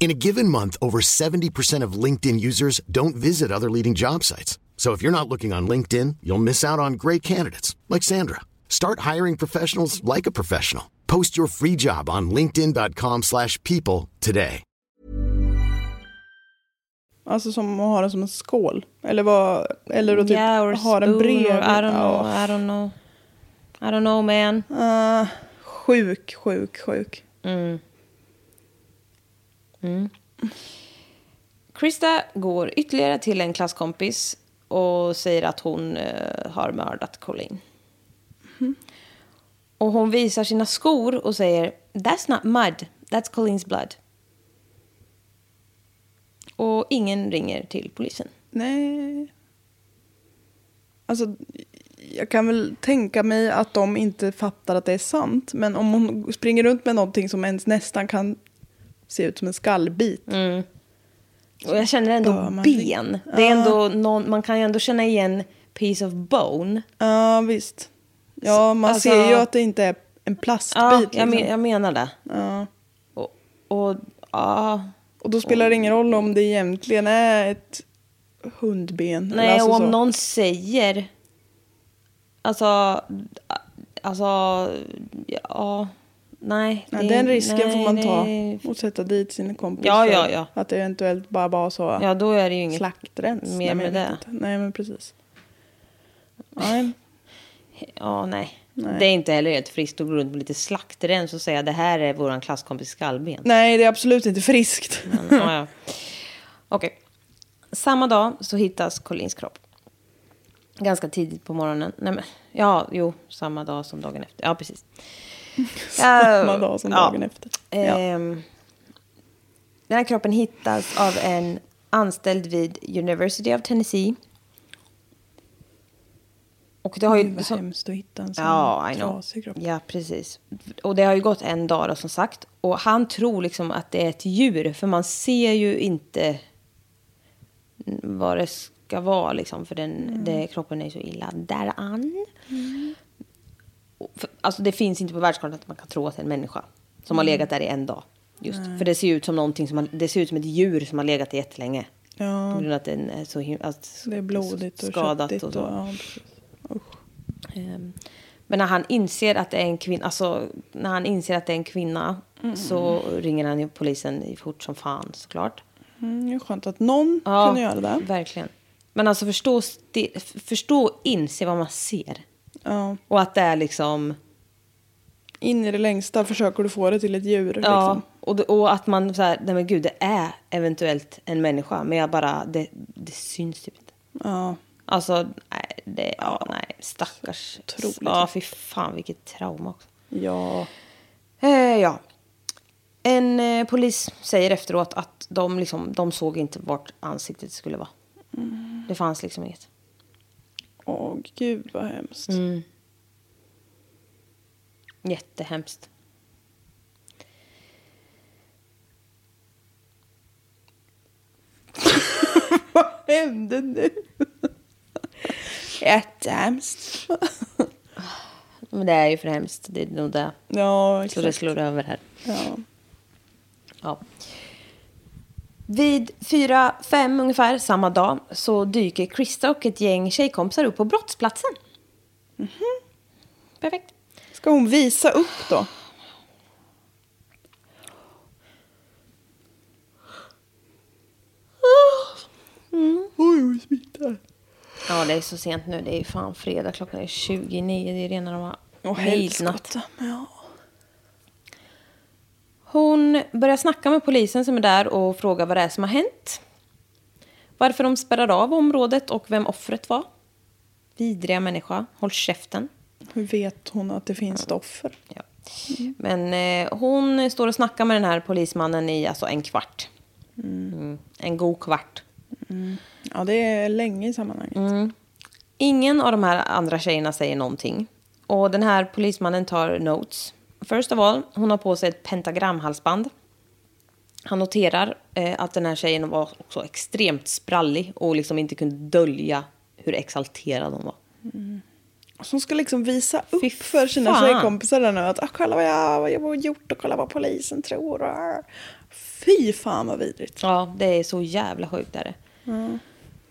[SPEAKER 4] In a given month, over 70% of LinkedIn users don't visit other leading job sites. So if you're not looking on LinkedIn, you'll miss out on great candidates like Sandra. Start hiring professionals like a professional. Post your free job on linkedin.com/people slash people today.
[SPEAKER 2] Alltså som att ha den som en skål. Eller, vad, eller att typ
[SPEAKER 1] Yeah, or
[SPEAKER 2] ha den
[SPEAKER 1] spoon,
[SPEAKER 2] bredvid. Ah.
[SPEAKER 1] or I don't
[SPEAKER 2] Ja.
[SPEAKER 1] know, I don't know. I don't know man.
[SPEAKER 2] Ah, sjuk, sjuk, sjuk.
[SPEAKER 1] Krista går ytterligare till en klasskompis och säger att hon eh, har mördat Colleen.
[SPEAKER 2] Mhm.
[SPEAKER 1] Och hon visar sina skor och säger That's not mud, that's Colleens blood. Och ingen ringer till polisen.
[SPEAKER 2] Nej. Alltså, jag kan väl tänka mig att de inte fattar att det är sant. Men om hon springer runt med någonting som ens nästan kan se ut som en skallbit.
[SPEAKER 1] Mm. Och jag känner ändå
[SPEAKER 2] Bör man
[SPEAKER 1] ben.
[SPEAKER 2] ringa?
[SPEAKER 1] Det är ändå någon, man kan ju ändå känna igen piece of bone.
[SPEAKER 2] Ja, visst. Ja, man
[SPEAKER 1] Alltså-
[SPEAKER 2] ser ju att det inte är en plastbit.
[SPEAKER 1] Ja, jag,
[SPEAKER 2] liksom.
[SPEAKER 1] men, jag menar det.
[SPEAKER 2] Ja.
[SPEAKER 1] Och, och ja.
[SPEAKER 2] Och då spelar det ingen roll om det egentligen är ett hundben. eller
[SPEAKER 1] Nej,
[SPEAKER 2] alltså
[SPEAKER 1] och om
[SPEAKER 2] så.
[SPEAKER 1] någon säger... Alltså... Alltså... Ja... Nej.
[SPEAKER 2] Ja,
[SPEAKER 1] det-
[SPEAKER 2] den risken
[SPEAKER 1] nej,
[SPEAKER 2] får man ta
[SPEAKER 1] det-
[SPEAKER 2] och sätta dit sina kompisar.
[SPEAKER 1] Ja, ja, ja.
[SPEAKER 2] Att det eventuellt bara var så
[SPEAKER 1] Ja, då är det ju inget...
[SPEAKER 2] slaktrens.
[SPEAKER 1] mer
[SPEAKER 2] Nej, men
[SPEAKER 1] med
[SPEAKER 2] jag vet
[SPEAKER 1] det.
[SPEAKER 2] inte. Nej, men precis. Nej,
[SPEAKER 1] Ja, nej.
[SPEAKER 2] Nej.
[SPEAKER 1] Det är inte heller helt friskt att gå runt med lite slaktrens och säga det här är våran klasskompis skallben.
[SPEAKER 2] nej, det är absolut inte friskt.
[SPEAKER 1] Men, ja, ja. Okej. Samma dag så hittas Collins kropp. Ganska tidigt på morgonen. Nej, men, ja, jo, samma dag som dagen efter. Ja, precis. samma
[SPEAKER 2] Samma dag som dagen efter. Ja.
[SPEAKER 1] Ehm, Den här kroppen hittas av en anställd vid University of Tennessee. Och det har ju...
[SPEAKER 2] Vad
[SPEAKER 1] så-
[SPEAKER 2] hemskt att hitta en sån
[SPEAKER 1] Ja, I know.
[SPEAKER 2] trasig kropp.
[SPEAKER 1] Ja, precis. Och det har ju gått en dag då, som sagt. Och han tror liksom att det är ett djur, för man ser ju inte vad det ska vara liksom. För den,
[SPEAKER 2] Mm.
[SPEAKER 1] det, kroppen är ju så illa däran. Och för- Alltså det finns inte på världskartan att man kan tro att det är en människa som
[SPEAKER 2] Mm.
[SPEAKER 1] har legat där i en dag. Just. För det ser ju ut som någonting som har, det ser ut som ett djur som har legat i jättelänge. På
[SPEAKER 2] Ja,
[SPEAKER 1] grund av att den är så him- att
[SPEAKER 2] det är blodigt och
[SPEAKER 1] skadat
[SPEAKER 2] köttigt.
[SPEAKER 1] och så.
[SPEAKER 2] Och, ja, precis.
[SPEAKER 1] Ehm, Men när han inser att det är en kvinna, alltså när han inser att det är en kvinna så ringer han ju polisen fort som fan såklart.
[SPEAKER 2] mm, det är skönt att någon kunde göra det.
[SPEAKER 1] verkligen. Men alltså förstå, sti- f- förstå och inse vad man ser.
[SPEAKER 2] Ja.
[SPEAKER 1] Och att det är liksom,
[SPEAKER 2] In i det längsta försöker du få det till ett djur.
[SPEAKER 1] ja.
[SPEAKER 2] Liksom.
[SPEAKER 1] Och, det- och att man så här, nej men gud det är eventuellt en människa. Men jag bara, det, det syns typ inte.
[SPEAKER 2] Ja.
[SPEAKER 1] Alltså, nej, det, ja, nej stackars.
[SPEAKER 2] otroligt.
[SPEAKER 1] Ja, fy fan vilket trauma också.
[SPEAKER 2] ja.
[SPEAKER 1] Eh, ja. En eh, polis säger efteråt att de, liksom, de såg inte vart ansiktet skulle vara.
[SPEAKER 2] Mm.
[SPEAKER 1] Det fanns liksom inget.
[SPEAKER 2] Åh, gud vad hemskt.
[SPEAKER 1] Mm. Jättehemskt.
[SPEAKER 2] Vad hände nu? Jättehemskt.
[SPEAKER 1] Men det är ju för hemskt. Det är nog det.
[SPEAKER 2] Ja,
[SPEAKER 1] Så det
[SPEAKER 2] exakt.
[SPEAKER 1] slår över här.
[SPEAKER 2] Ja.
[SPEAKER 1] Ja. Vid fyra fem ungefär samma dag så dyker Krista och ett gäng tjejkompisar upp på brottsplatsen.
[SPEAKER 2] Mhm.
[SPEAKER 1] Perfekt.
[SPEAKER 2] Ska hon visa upp då? Oj, hon smittar.
[SPEAKER 1] Ja, det är så sent nu. Det är ju fan fredag. Klockan är 29. Det är rena rama
[SPEAKER 2] Åh, helskotta. Ja.
[SPEAKER 1] Hon börjar snacka med polisen som är där och frågar vad det är som har hänt. Varför de spärrar av området och vem offret var. Vidriga människa. Håll käften.
[SPEAKER 2] Hur vet hon att det finns ett offer?
[SPEAKER 1] Ja. Men eh, hon står och snackar med den här polismannen i alltså, en kvart. Mm. En god kvart.
[SPEAKER 2] Ja, det är länge i sammanhanget.
[SPEAKER 1] Mm. Ingen av de här andra tjejerna säger någonting. Och den här polismannen tar notes. First of all, hon har på sig ett pentagramhalsband. Han noterar eh, att den här tjejen var också extremt sprallig och liksom inte kunde dölja hur exalterad hon var.
[SPEAKER 2] Så hon ska liksom visa
[SPEAKER 1] Fy
[SPEAKER 2] upp för sina
[SPEAKER 1] fan.
[SPEAKER 2] tjejkompisar där nu att ah, kolla vad jag, vad jag har gjort och kolla vad polisen tror. Och, ah. Fy fan vad vidrigt.
[SPEAKER 1] Ja, det är så jävla sjukt är det.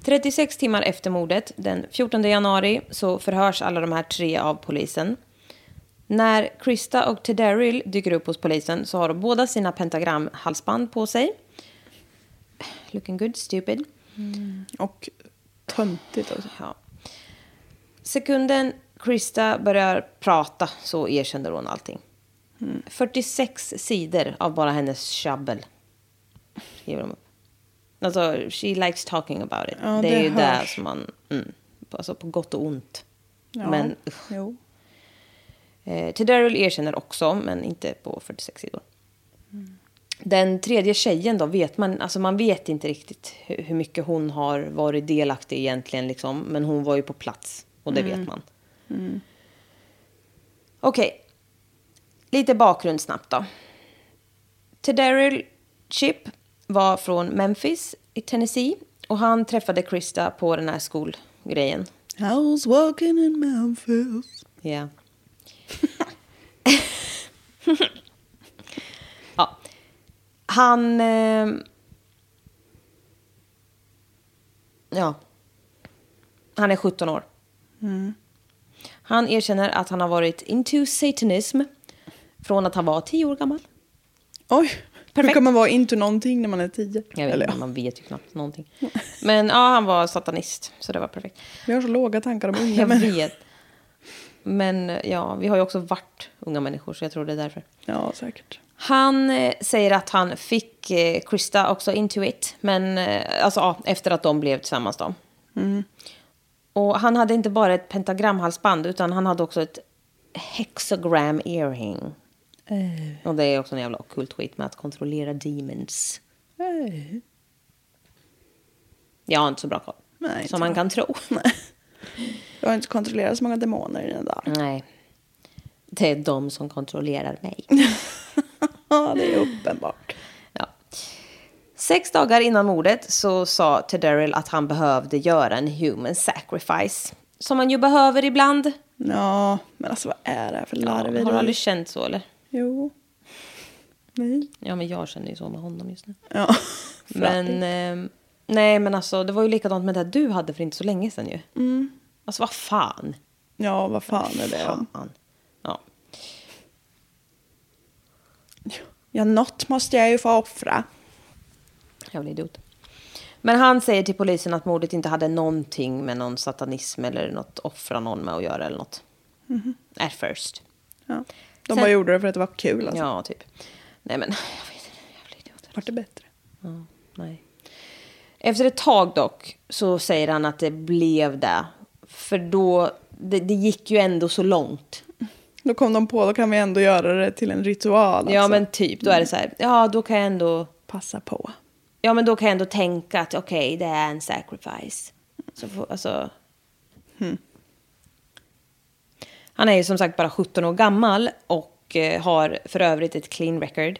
[SPEAKER 1] 36 timmar efter mordet, den 14 januari, så förhörs alla de här tre av polisen. När Krista och Ted Daryl dyker upp hos polisen så har de båda sina pentagramhalsband på sig. Looking good, stupid.
[SPEAKER 2] Och töntigt alltså.
[SPEAKER 1] Ja. Sekunden Krista börjar prata så erkänner hon allting.
[SPEAKER 2] Mm.
[SPEAKER 1] 46 sidor av bara hennes tjabbel. Skriver de upp. Alltså, she likes talking about it.
[SPEAKER 2] Ja,
[SPEAKER 1] det,
[SPEAKER 2] det
[SPEAKER 1] är ju det
[SPEAKER 2] hörs.
[SPEAKER 1] som man... Mm, alltså på gott och ont.
[SPEAKER 2] Ja.
[SPEAKER 1] Men
[SPEAKER 2] Jo.
[SPEAKER 1] Eh, Tedaryl erkänner också, men inte på 46 sidor. Den tredje tjejen då, vet man, alltså man vet inte riktigt hur, hur mycket hon har varit delaktig egentligen. Liksom, men hon var ju på plats och det vet man. Okej, lite bakgrund snabbt då. Tedaryl Chip var från Memphis i Tennessee och han träffade Krista på den här skolgrejen.
[SPEAKER 2] I was walking in Memphis.
[SPEAKER 1] Ja. ja. Han... Eh... Ja. Han är 17 år.
[SPEAKER 2] Mm.
[SPEAKER 1] Han erkänner att han har varit into satanism från att han var 10 år gammal.
[SPEAKER 2] Oj, hur
[SPEAKER 1] Perfekt.
[SPEAKER 2] kan man vara inte någonting när man är tio?
[SPEAKER 1] Jag vet
[SPEAKER 2] Eller,
[SPEAKER 1] inte,
[SPEAKER 2] ja.
[SPEAKER 1] man vet ju knappt någonting. Men ja, han var satanist, så det var perfekt.
[SPEAKER 2] Vi har så låga tankar om unga
[SPEAKER 1] Jag
[SPEAKER 2] människor.
[SPEAKER 1] vet. Men ja, vi har ju också varit unga människor, så jag tror det är därför.
[SPEAKER 2] Ja, säkert.
[SPEAKER 1] Han eh, säger att han fick eh,
[SPEAKER 2] Mm.
[SPEAKER 1] Krista också into it, men eh, alltså ja, efter att de blev tillsammans då. Och han hade inte bara ett pentagramhalsband utan han hade också ett hexagram earring.
[SPEAKER 2] Eh.
[SPEAKER 1] Och det är också en jävla ockult skit med att kontrollera demons.
[SPEAKER 2] Eh.
[SPEAKER 1] Jag har inte så bra koll.
[SPEAKER 2] Nej, inte
[SPEAKER 1] som man kan tro.
[SPEAKER 2] Jag har inte kontrollerat så många demoner i den där.
[SPEAKER 1] Nej. Det är de som kontrollerar mig.
[SPEAKER 2] Ja, det är uppenbart.
[SPEAKER 1] Ja. Sex dagar innan mordet så sa Tedderil att han behövde göra en human sacrifice. Som man ju behöver ibland.
[SPEAKER 2] Ja, men alltså vad är det här för larver?
[SPEAKER 1] Har du aldrig känt så eller?
[SPEAKER 2] Jo. Nej.
[SPEAKER 1] Ja men jag känner ju så med honom just nu.
[SPEAKER 2] Ja.
[SPEAKER 1] Men ehm, nej men alltså det var ju likadant med det du hade för inte så länge sedan ju. Alltså vad fan.
[SPEAKER 2] Mm. Ja, vad fan är det om?
[SPEAKER 1] Fan. Ja.
[SPEAKER 2] Ja, något måste jag ju få offra.
[SPEAKER 1] Jävla idiot. Men han säger till polisen att mordet inte hade någonting med någon satanism eller något offra någon med att göra eller något.
[SPEAKER 2] Mm-hmm.
[SPEAKER 1] At first.
[SPEAKER 2] Ja. De
[SPEAKER 1] Sen-
[SPEAKER 2] bara gjorde det för att det var kul alltså.
[SPEAKER 1] Ja, typ. Nej men, jag vet inte. Jävla idioter.
[SPEAKER 2] Vart det bättre?
[SPEAKER 1] Ja, nej. Efter ett tag dock så säger han att det blev det. För då, det, det gick ju ändå så långt.
[SPEAKER 2] Då kom de på, då kan vi ändå göra det till en ritual. Alltså.
[SPEAKER 1] Ja men typ, då är det så här, ja då kan jag ändå,
[SPEAKER 2] Passa på.
[SPEAKER 1] ja men då kan jag ändå tänka att okej det är en sacrifice. Så får, alltså. Han är ju som sagt bara 17 år gammal och eh, har för övrigt ett clean record.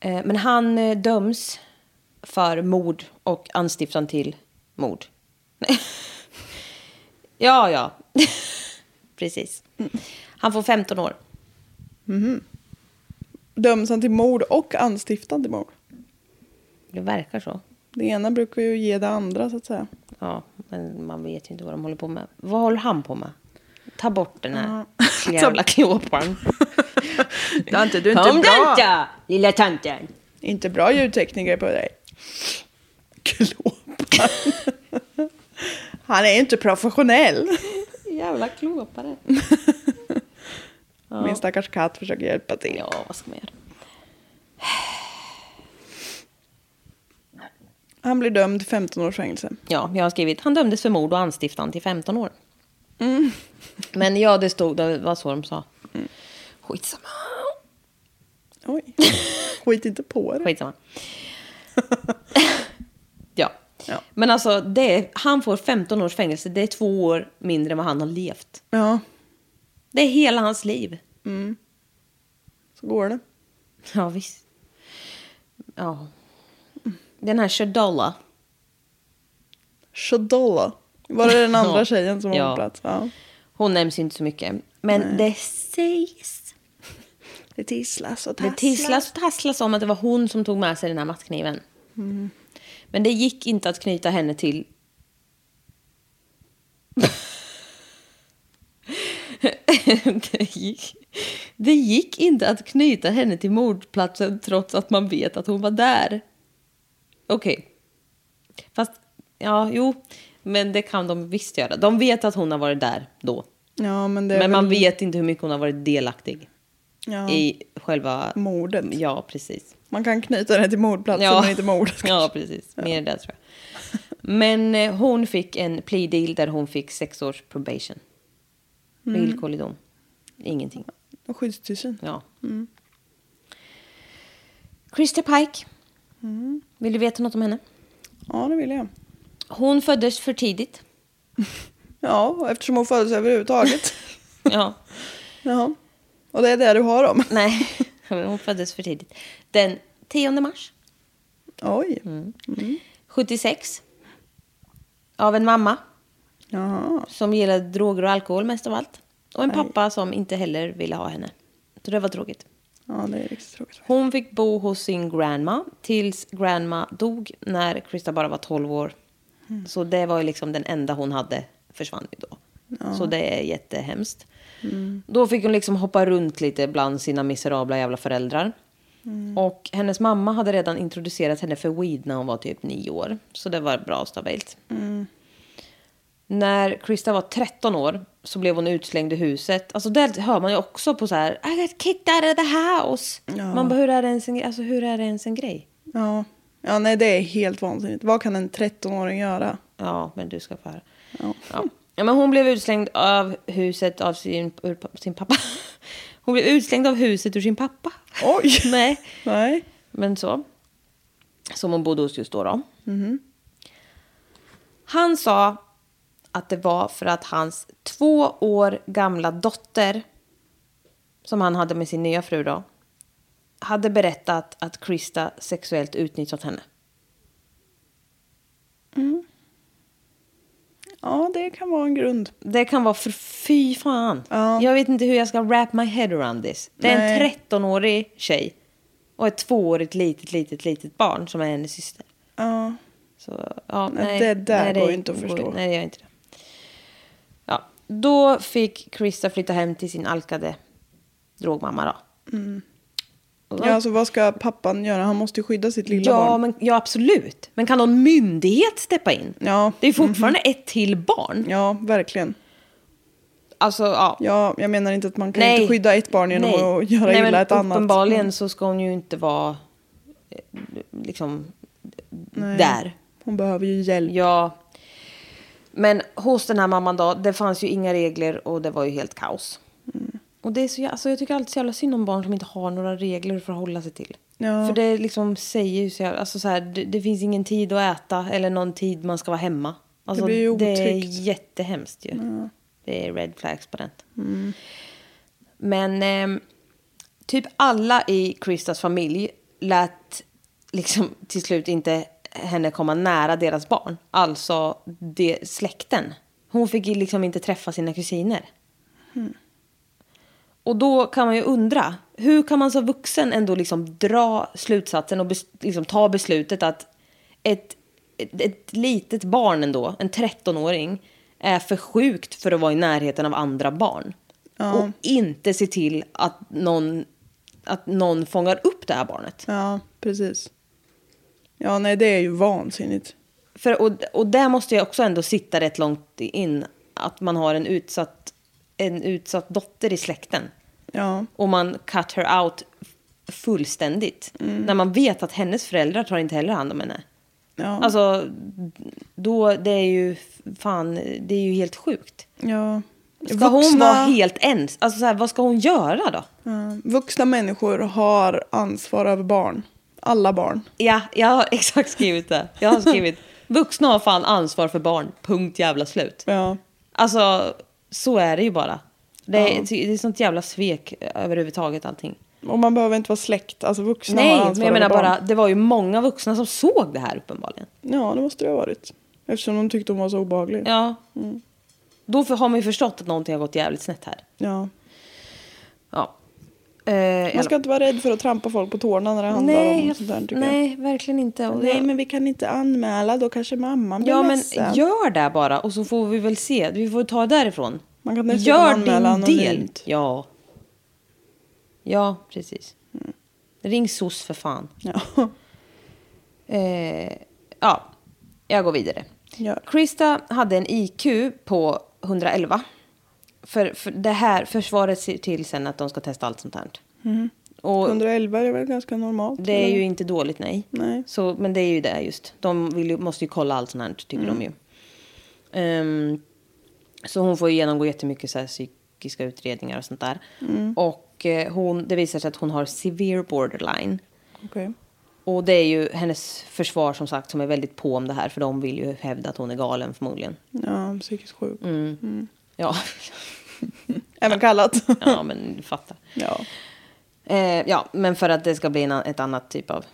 [SPEAKER 1] Eh, men han eh, döms för mord och anstiftan till mord. Nej. ja, ja. Precis. Han får 15 år.
[SPEAKER 2] Döms han till mord och anstiftan till mord?
[SPEAKER 1] Det verkar så.
[SPEAKER 2] Det ena brukar ju ge det andra så att säga.
[SPEAKER 1] Ja, men man vet ju inte vad de håller på med. Vad håller han på med? Ta bort den här
[SPEAKER 2] Ta-
[SPEAKER 1] jävla klåparen.
[SPEAKER 2] Dante, du
[SPEAKER 1] Kom den då, lilla tanten!
[SPEAKER 2] Inte bra ljudtekniker på dig. Klåpan. Han är ju inte professionell.
[SPEAKER 1] Jävla klåpare.
[SPEAKER 2] Min stackars katt försöker hjälpa till.
[SPEAKER 1] Ja, vad ska man göra?
[SPEAKER 2] Han blir dömd till 15 års fängelse.
[SPEAKER 1] Ja, jag har skrivit han dömdes för mord och anstiftan till 15 år.
[SPEAKER 2] Mm.
[SPEAKER 1] Men ja, det stod, det var så de sa. Skitsamma.
[SPEAKER 2] Oj. Skit inte på det.
[SPEAKER 1] Skitsamma. ja.
[SPEAKER 2] Ja.
[SPEAKER 1] Men alltså, det är, han får 15 års fängelse. Det är två år mindre än vad han har levt.
[SPEAKER 2] Ja,
[SPEAKER 1] Det är hela hans liv.
[SPEAKER 2] så går det.
[SPEAKER 1] Ja, visst. Ja. Den här Shadala.
[SPEAKER 2] Shadolla. Var det den andra
[SPEAKER 1] Ja.
[SPEAKER 2] tjejen som var
[SPEAKER 1] Ja.
[SPEAKER 2] på plats? Ja.
[SPEAKER 1] Hon nämns ju inte så mycket. Men det sägs.
[SPEAKER 2] Det tisslas och
[SPEAKER 1] Det tisslas och tasslas om att det var hon som tog med sig den här mattkniven.
[SPEAKER 2] Mm.
[SPEAKER 1] Men det gick inte att knyta henne till... det, gick. det gick inte att knyta henne till mordplatsen trots att man vet att hon var där. Okej. Fast, ja, jo. Men det kan de visst göra. De vet att hon har varit där då.
[SPEAKER 2] Ja, men det är
[SPEAKER 1] Men man
[SPEAKER 2] väl
[SPEAKER 1] vet inte hur mycket hon har varit delaktig
[SPEAKER 2] ja,
[SPEAKER 1] i själva...
[SPEAKER 2] mordet.
[SPEAKER 1] Ja, precis.
[SPEAKER 2] Man kan knyta det till mordplatsen men inte mordet.
[SPEAKER 1] Ja, precis. Mer det tror jag. Men eh, hon fick en plea deal där hon fick sex års probation.
[SPEAKER 2] Mm.
[SPEAKER 1] Villkorlig dom. Ingenting.
[SPEAKER 2] Och skyddstillsyn.
[SPEAKER 1] Ja.
[SPEAKER 2] Mm.
[SPEAKER 1] Christer Pike.
[SPEAKER 2] Mm.
[SPEAKER 1] Vill du veta något om henne?
[SPEAKER 2] Ja, det vill jag.
[SPEAKER 1] Hon föddes för tidigt.
[SPEAKER 2] Ja, och eftersom hon föddes överhuvudtaget.
[SPEAKER 1] Ja.
[SPEAKER 2] ja. Och det är det du har om.
[SPEAKER 1] Nej, hon föddes för tidigt. Den 10 mars
[SPEAKER 2] Oj.
[SPEAKER 1] Mm. 76. Av en mamma
[SPEAKER 2] Jaha.
[SPEAKER 1] som gillade droger och alkohol mest av allt. Och en pappa som inte heller ville ha henne. Så det var tråkigt.
[SPEAKER 2] Ja, det är riktigt tråkigt.
[SPEAKER 1] Hon fick bo hos sin grandma tills grandma dog när Krista bara var 12 år. Så det var ju liksom den enda hon hade försvann ju då. Så det är jättehemskt. Då fick hon liksom hoppa runt lite bland sina miserabla jävla föräldrar. Och hennes mamma hade redan introducerat henne för weed när hon var typ 9 år. Så det var bra och stabilt. När Krista var 13 år så blev hon utslängd i huset. Alltså där hör man ju också på så här, I got kicked out of the house. Man bara, hur är det ens en, gre- alltså, hur är det ens en grej?
[SPEAKER 2] Ja. ja, nej det är helt vansinnigt. Vad kan en 13-åring göra?
[SPEAKER 1] Ja, men du ska få höra. Ja. Ja, men hon blev utslängd av huset av sin, ur, sin pappa. Hon blev utslängd av huset ur sin pappa.
[SPEAKER 2] Oj.
[SPEAKER 1] Nej,
[SPEAKER 2] Nej.
[SPEAKER 1] men så. Som hon bodde hos just då. då. Han sa att det var för att hans två år gamla dotter, som han hade med sin nya fru då, hade berättat att Krista sexuellt utnyttjat henne.
[SPEAKER 2] Ja, det kan vara en grund.
[SPEAKER 1] Det kan vara för fy fan. Jag vet inte hur jag ska wrap my head around this. Det är
[SPEAKER 2] Nej.
[SPEAKER 1] en 13-årig tjej och ett tvåårigt litet, litet, litet barn som är hennes syster.
[SPEAKER 2] Ja.
[SPEAKER 1] Så, ja,
[SPEAKER 2] Nej,
[SPEAKER 1] nej,
[SPEAKER 2] det där
[SPEAKER 1] nej,
[SPEAKER 2] går ju inte att förstå.
[SPEAKER 1] Nej, det gör inte det. Ja, då fick Krista flytta hem till sin alkade drogmamma då.
[SPEAKER 2] Mm.
[SPEAKER 1] Och då-
[SPEAKER 2] ja, alltså vad ska pappan göra? Han måste ju skydda sitt lilla
[SPEAKER 1] ja,
[SPEAKER 2] barn.
[SPEAKER 1] Men, ja, absolut. Men kan någon myndighet steppa in?
[SPEAKER 2] Ja. Mm-hmm.
[SPEAKER 1] Det är fortfarande ett till barn.
[SPEAKER 2] Ja, verkligen.
[SPEAKER 1] Alltså, ja.
[SPEAKER 2] Ja, jag menar inte att man kan inte skydda ett barn genom
[SPEAKER 1] Nej.
[SPEAKER 2] att göra
[SPEAKER 1] Nej,
[SPEAKER 2] illa
[SPEAKER 1] men
[SPEAKER 2] ett annat. Mm.
[SPEAKER 1] Uppenbarligen så ska hon ju inte vara eh, liksom där.
[SPEAKER 2] Hon behöver ju hjälp.
[SPEAKER 1] Ja. Men hos den här mamman då, det fanns ju inga regler och det var ju helt kaos. Mm. Och det är så, jä- alltså jag tycker alltid så jävla synd om barn som inte har några regler att förhålla sig till.
[SPEAKER 2] Ja.
[SPEAKER 1] För det liksom säger ju så jävla, alltså så här, det, det finns ingen tid att äta eller någon tid man ska vara hemma. Alltså,
[SPEAKER 2] Det blir ju
[SPEAKER 1] Det är
[SPEAKER 2] otryggt.
[SPEAKER 1] jättehemskt ju. Det är red flags på den.
[SPEAKER 2] Mm.
[SPEAKER 1] Men ehm, typ alla i Kristas familj lät liksom till slut inte henne komma nära deras barn. Alltså det, släkten. Hon fick ju liksom inte träffa sina kusiner. Och då kan man ju undra, hur kan man som vuxen ändå liksom dra slutsatsen och bes- liksom ta beslutet att ett, ett, ett litet barn ändå, en 13-åring, är för sjukt för att vara i närheten av andra barn. Och inte se till att någon, att någon fångar upp det här barnet.
[SPEAKER 2] Ja, precis. Ja, nej, det är ju vansinnigt.
[SPEAKER 1] För, och, och där måste jag också ändå sitta rätt långt in, att man har en utsatt, en utsatt dotter i släkten.
[SPEAKER 2] Ja,
[SPEAKER 1] och man cut her out fullständigt.
[SPEAKER 2] Mm.
[SPEAKER 1] När man vet att hennes föräldrar tar inte heller hand om henne.
[SPEAKER 2] ja,
[SPEAKER 1] Alltså, då, det är ju fan, det är ju helt sjukt.
[SPEAKER 2] ja.
[SPEAKER 1] Ska hon vara helt ens? Alltså så här, vad ska hon göra då?
[SPEAKER 2] Ja, vuxna människor har ansvar över barn. Alla barn.
[SPEAKER 1] Ja, jag har exakt skrivit det. Jag har skrivit, vuxna har fan ansvar för barn, punkt jävla slut.
[SPEAKER 2] Ja,
[SPEAKER 1] Alltså, så är det ju bara. Det är, det är sånt jävla svek överhuvudtaget allting.
[SPEAKER 2] och man behöver inte vara släkt. Alltså vuxna
[SPEAKER 1] Nej,
[SPEAKER 2] har ansvar
[SPEAKER 1] men jag menar
[SPEAKER 2] över barn.
[SPEAKER 1] bara, det var ju många vuxna som såg det här uppenbarligen.
[SPEAKER 2] Ja, det måste det ha varit. Eftersom de tyckte hon var så obehaglig.
[SPEAKER 1] Ja. mm. Då för, har man ju förstått att någonting har gått jävligt snett här.
[SPEAKER 2] Ja.
[SPEAKER 1] Ja. Eh,
[SPEAKER 2] Man ska inte vara rädd för att trampa folk på tårna när det handlar
[SPEAKER 1] nej,
[SPEAKER 2] om sånt där tycker
[SPEAKER 1] nej, verkligen inte.
[SPEAKER 2] jag.
[SPEAKER 1] Och
[SPEAKER 2] Nej,
[SPEAKER 1] jag-
[SPEAKER 2] men vi kan inte anmäla, då kanske mamman blir
[SPEAKER 1] ja, men
[SPEAKER 2] ledsen.
[SPEAKER 1] gör det bara och så får vi väl se. Vi får ta det därifrån.
[SPEAKER 2] Man kan dessutom
[SPEAKER 1] gör
[SPEAKER 2] anmäla
[SPEAKER 1] din del.
[SPEAKER 2] anonymt.
[SPEAKER 1] Ja. Ja, precis.
[SPEAKER 2] Mm.
[SPEAKER 1] Ring SOS för fan.
[SPEAKER 2] Ja.
[SPEAKER 1] Eh, ja, jag går vidare.
[SPEAKER 2] Ja.
[SPEAKER 1] Krista hade en IQ på 111. För, för det här, försvaret ser till sen att de ska testa allt sånt här.
[SPEAKER 2] Mhm.
[SPEAKER 1] Och
[SPEAKER 2] 111 är väl ganska normalt?
[SPEAKER 1] det är
[SPEAKER 2] eller?
[SPEAKER 1] ju inte dåligt, nej.
[SPEAKER 2] Mm. Nej.
[SPEAKER 1] Så, men det är ju det just. De vill ju, måste ju kolla allt sånt här, tycker
[SPEAKER 2] Mm.
[SPEAKER 1] de ju. Ehm, så hon får ju genomgå jättemycket så här psykiska utredningar och sånt där.
[SPEAKER 2] Mm.
[SPEAKER 1] Och eh, hon, det visar sig att hon har severe borderline.
[SPEAKER 2] Okej.
[SPEAKER 1] Och det är ju hennes försvar som sagt som är väldigt på om det här för de vill ju hävda att hon är galen förmodligen.
[SPEAKER 2] Ja, psykiskt sjuk.
[SPEAKER 1] Mm. Ja,
[SPEAKER 2] Även kallat.
[SPEAKER 1] ja men du fattar.
[SPEAKER 2] ja.
[SPEAKER 1] Eh, ja, men för att det ska bli en, an- ett annat typ av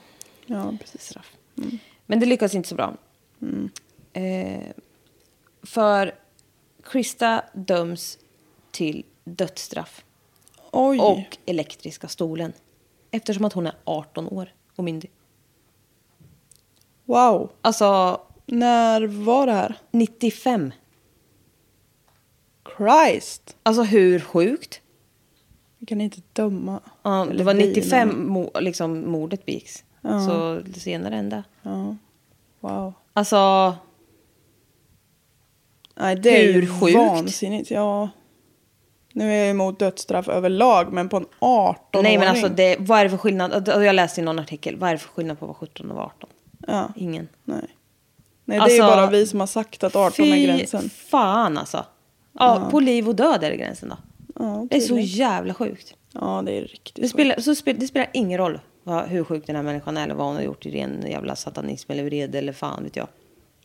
[SPEAKER 2] ja, precis.
[SPEAKER 1] Men det lyckas inte så bra. Eh, för Krista döms till dödsstraff
[SPEAKER 2] Oj.
[SPEAKER 1] och elektriska stolen. Eftersom att hon är 18 år och myndig.
[SPEAKER 2] Wow.
[SPEAKER 1] Alltså
[SPEAKER 2] När var det här?
[SPEAKER 1] 95.
[SPEAKER 2] Christ.
[SPEAKER 1] Alltså hur sjukt?
[SPEAKER 2] Vi kan inte döma.
[SPEAKER 1] Ja, det
[SPEAKER 2] Eller
[SPEAKER 1] var
[SPEAKER 2] vi,
[SPEAKER 1] 95
[SPEAKER 2] men-
[SPEAKER 1] mo liksom, mordet begicks.
[SPEAKER 2] Ja.
[SPEAKER 1] Så senare än det.
[SPEAKER 2] Ja. Wow.
[SPEAKER 1] Alltså,
[SPEAKER 2] Nej, det är ju
[SPEAKER 1] Hur sjukt?
[SPEAKER 2] vansinnigt. Ja. Nu är jag emot dödsstraff överlag, men på en 18-åring.
[SPEAKER 1] nej men alltså det, vad är det för skillnad? Alltså, Jag läste i någon artikel, vad är det för skillnad på att vara 17 och vara 18?
[SPEAKER 2] Ja.
[SPEAKER 1] Ingen.
[SPEAKER 2] Nej. Nej,
[SPEAKER 1] Alltså,
[SPEAKER 2] det är bara vi som har sagt att 18 är gränsen.
[SPEAKER 1] fan alltså. Ja, På liv och död är det gränsen då.
[SPEAKER 2] Ja,
[SPEAKER 1] Det är så
[SPEAKER 2] tydligt.
[SPEAKER 1] jävla sjukt.
[SPEAKER 2] ja, det är
[SPEAKER 1] Det
[SPEAKER 2] riktigt.
[SPEAKER 1] spelar, så spel, det spelar ingen roll vad, hur sjuk den här människan är eller vad hon har gjort i ren jävla satanism eller vrede eller fan vet jag.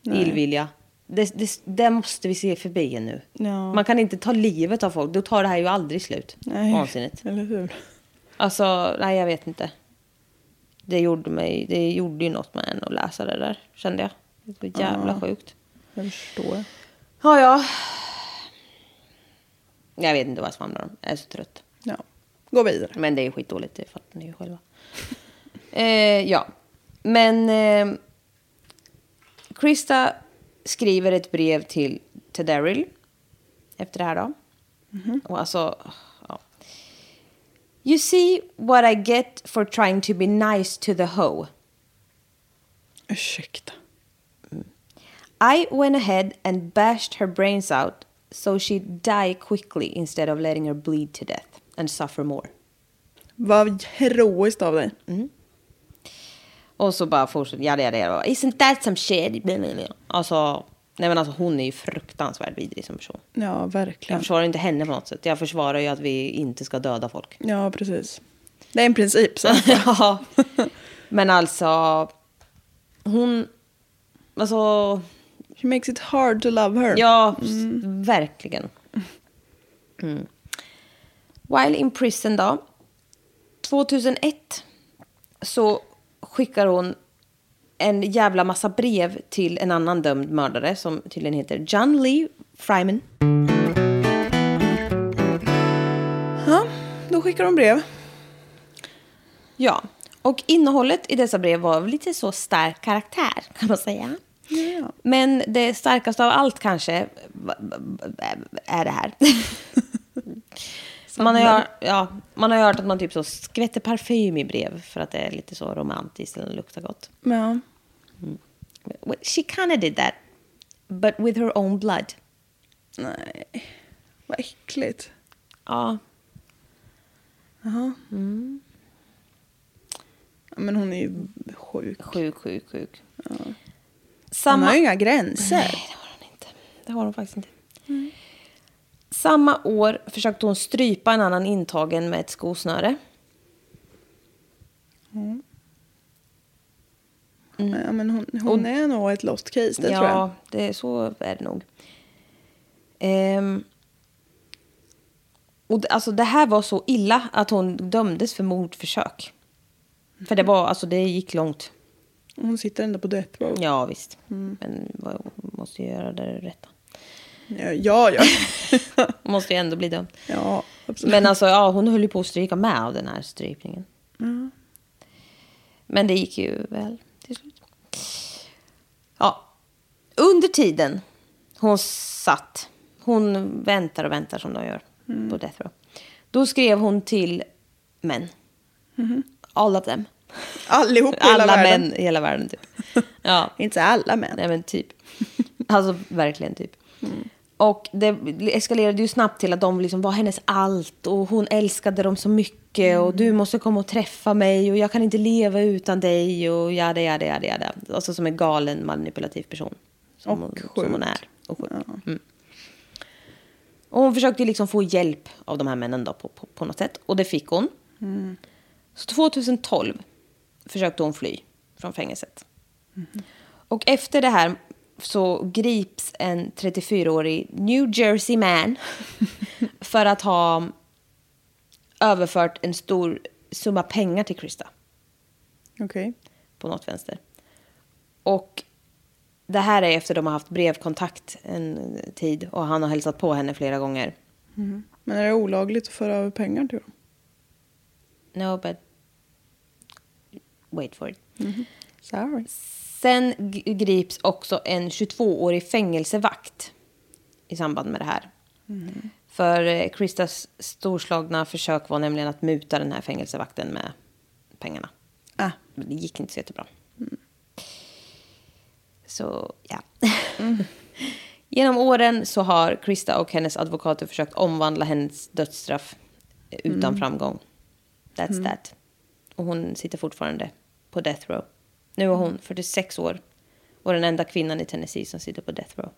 [SPEAKER 1] Illvilja. Det, det, det måste vi se förbi nu.
[SPEAKER 2] Ja.
[SPEAKER 1] Man kan inte ta livet av folk. Då tar det här ju aldrig slut.
[SPEAKER 2] Nej.
[SPEAKER 1] Vansinnigt.
[SPEAKER 2] Eller hur?
[SPEAKER 1] Alltså, nej jag vet inte. Det gjorde, mig, det gjorde ju något med en att läsa det där, kände jag. Det var jävla sjukt.
[SPEAKER 2] Jag förstår.
[SPEAKER 1] Ja, ja. Jag vet inte vad jag svamlar om. Jag är så trött.
[SPEAKER 2] Ja. Gå vidare.
[SPEAKER 1] Men det är ju skitdåligt, det fattar ni ju själva. Eh, ja, men... Eh, Krista skriver ett brev till, till Daryl efter det här då. Och alltså... Ja. You see what I get for trying to be nice to the hoe.
[SPEAKER 2] Ursäkta.
[SPEAKER 1] I went ahead and bashed her brains out so she'd die quickly instead of letting her bleed to death and suffer more.
[SPEAKER 2] Vad heroiskt av dig.
[SPEAKER 1] Och så bara fortsätter, ja det är det. Och, Isn't that some shit? Alltså, nej men alltså hon är ju fruktansvärt vidrig som person.
[SPEAKER 2] Ja,
[SPEAKER 1] Jag
[SPEAKER 2] verkligen.
[SPEAKER 1] försvarar ju inte henne på något sätt. Jag försvarar ju att vi inte ska döda folk.
[SPEAKER 2] Ja, precis. Det är en princip. Så.
[SPEAKER 1] ja. Men alltså, hon, alltså,
[SPEAKER 2] She makes it hard to love her.
[SPEAKER 1] ja, verkligen. Mm. While in prison då, 2001 så skickar hon en jävla massa brev till en annan dömd mördare som tydligen heter John Lee Fryman.
[SPEAKER 2] Ja, då skickar de brev.
[SPEAKER 1] Ja, och innehållet i dessa brev var av lite så stark karaktär kan man säga.
[SPEAKER 2] Ja.
[SPEAKER 1] Men det starkaste av allt kanske va- va- va- är det här. Man har, ju hört, ja, man har ju hört att man typ så skvätter parfym i brev för att det är lite så romantiskt eller luktar gott.
[SPEAKER 2] Ja.
[SPEAKER 1] Well, She kinda did that, but with her own blood.
[SPEAKER 2] Nej, vad äckligt.
[SPEAKER 1] Ja,
[SPEAKER 2] Ja, Men hon är ju sjuk.
[SPEAKER 1] sjuk, sjuk, sjuk.
[SPEAKER 2] Hon
[SPEAKER 1] Samma...
[SPEAKER 2] har ju inga gränser.
[SPEAKER 1] Nej, det har hon inte. Det har hon faktiskt inte.
[SPEAKER 2] Mm.
[SPEAKER 1] Samma år försökte hon strypa en annan intagen med ett skosnöre. Mm.
[SPEAKER 2] Ja, men hon hon är nog ett lost case, det tror jag.
[SPEAKER 1] det, så är det nog. Ehm, och det, alltså, det här var så illa att hon dömdes för mordförsök. För det,
[SPEAKER 2] Mm.
[SPEAKER 1] var, alltså, det gick långt.
[SPEAKER 2] Hon sitter ändå på death row. Ja,
[SPEAKER 1] Ja, visst.
[SPEAKER 2] Mm.
[SPEAKER 1] Men vad- måste ju göra det rätta.
[SPEAKER 2] ja. Ja,
[SPEAKER 1] Måste ju ändå bli dömd.
[SPEAKER 2] ja absolut.
[SPEAKER 1] Men alltså, ja, hon höll ju på att stryka med av den här strypningen. Men det gick ju väl till slut. Ja. Under tiden hon satt, hon väntar och väntar som de gör
[SPEAKER 2] Mm.
[SPEAKER 1] på Death Row. Då skrev hon till män. All of them.
[SPEAKER 2] Allihop Mm-hmm. i hela
[SPEAKER 1] Alla
[SPEAKER 2] världen.
[SPEAKER 1] män i hela världen typ. Ja.
[SPEAKER 2] Inte alla män.
[SPEAKER 1] Nej men typ. Alltså verkligen typ. Och det eskalerade ju snabbt till att de liksom var hennes allt och hon älskade dem så mycket och du måste komma och träffa mig och jag kan inte leva utan dig och jada jada jada jada. Alltså som en galen manipulativ person. Som,
[SPEAKER 2] Och
[SPEAKER 1] hon,
[SPEAKER 2] sjuk.
[SPEAKER 1] som hon är. Och sjuk. Mm. Och hon försökte ju liksom få hjälp av de här männen då på, på, på något sätt och det fick hon.
[SPEAKER 2] Mm.
[SPEAKER 1] Så 2012 försökte hon fly från fängelset.
[SPEAKER 2] Mm-hmm.
[SPEAKER 1] Och efter det här så grips en 34-årig New Jersey man för att ha överfört en stor summa pengar till Krista
[SPEAKER 2] Okej.
[SPEAKER 1] på något vänster. Och det här är efter de har haft brevkontakt en tid och han har hälsat på henne flera gånger.
[SPEAKER 2] Men är det olagligt att föra över pengar till dem?
[SPEAKER 1] No, but wait for it.
[SPEAKER 2] Sorry.
[SPEAKER 1] Sen g- grips också en 22-årig fängelsevakt i samband med det här. För eh, Kristas storslagna försök var nämligen att muta den här fängelsevakten med pengarna.
[SPEAKER 2] Ah.
[SPEAKER 1] Men det gick inte så jättebra. Så, ja. Genom åren så har Krista och hennes advokater försökt omvandla hennes dödsstraff eh, utan framgång. That's that. Och hon sitter fortfarande på death row. Nu är hon 46 år Och den enda kvinnan i Tennessee som sitter på death row.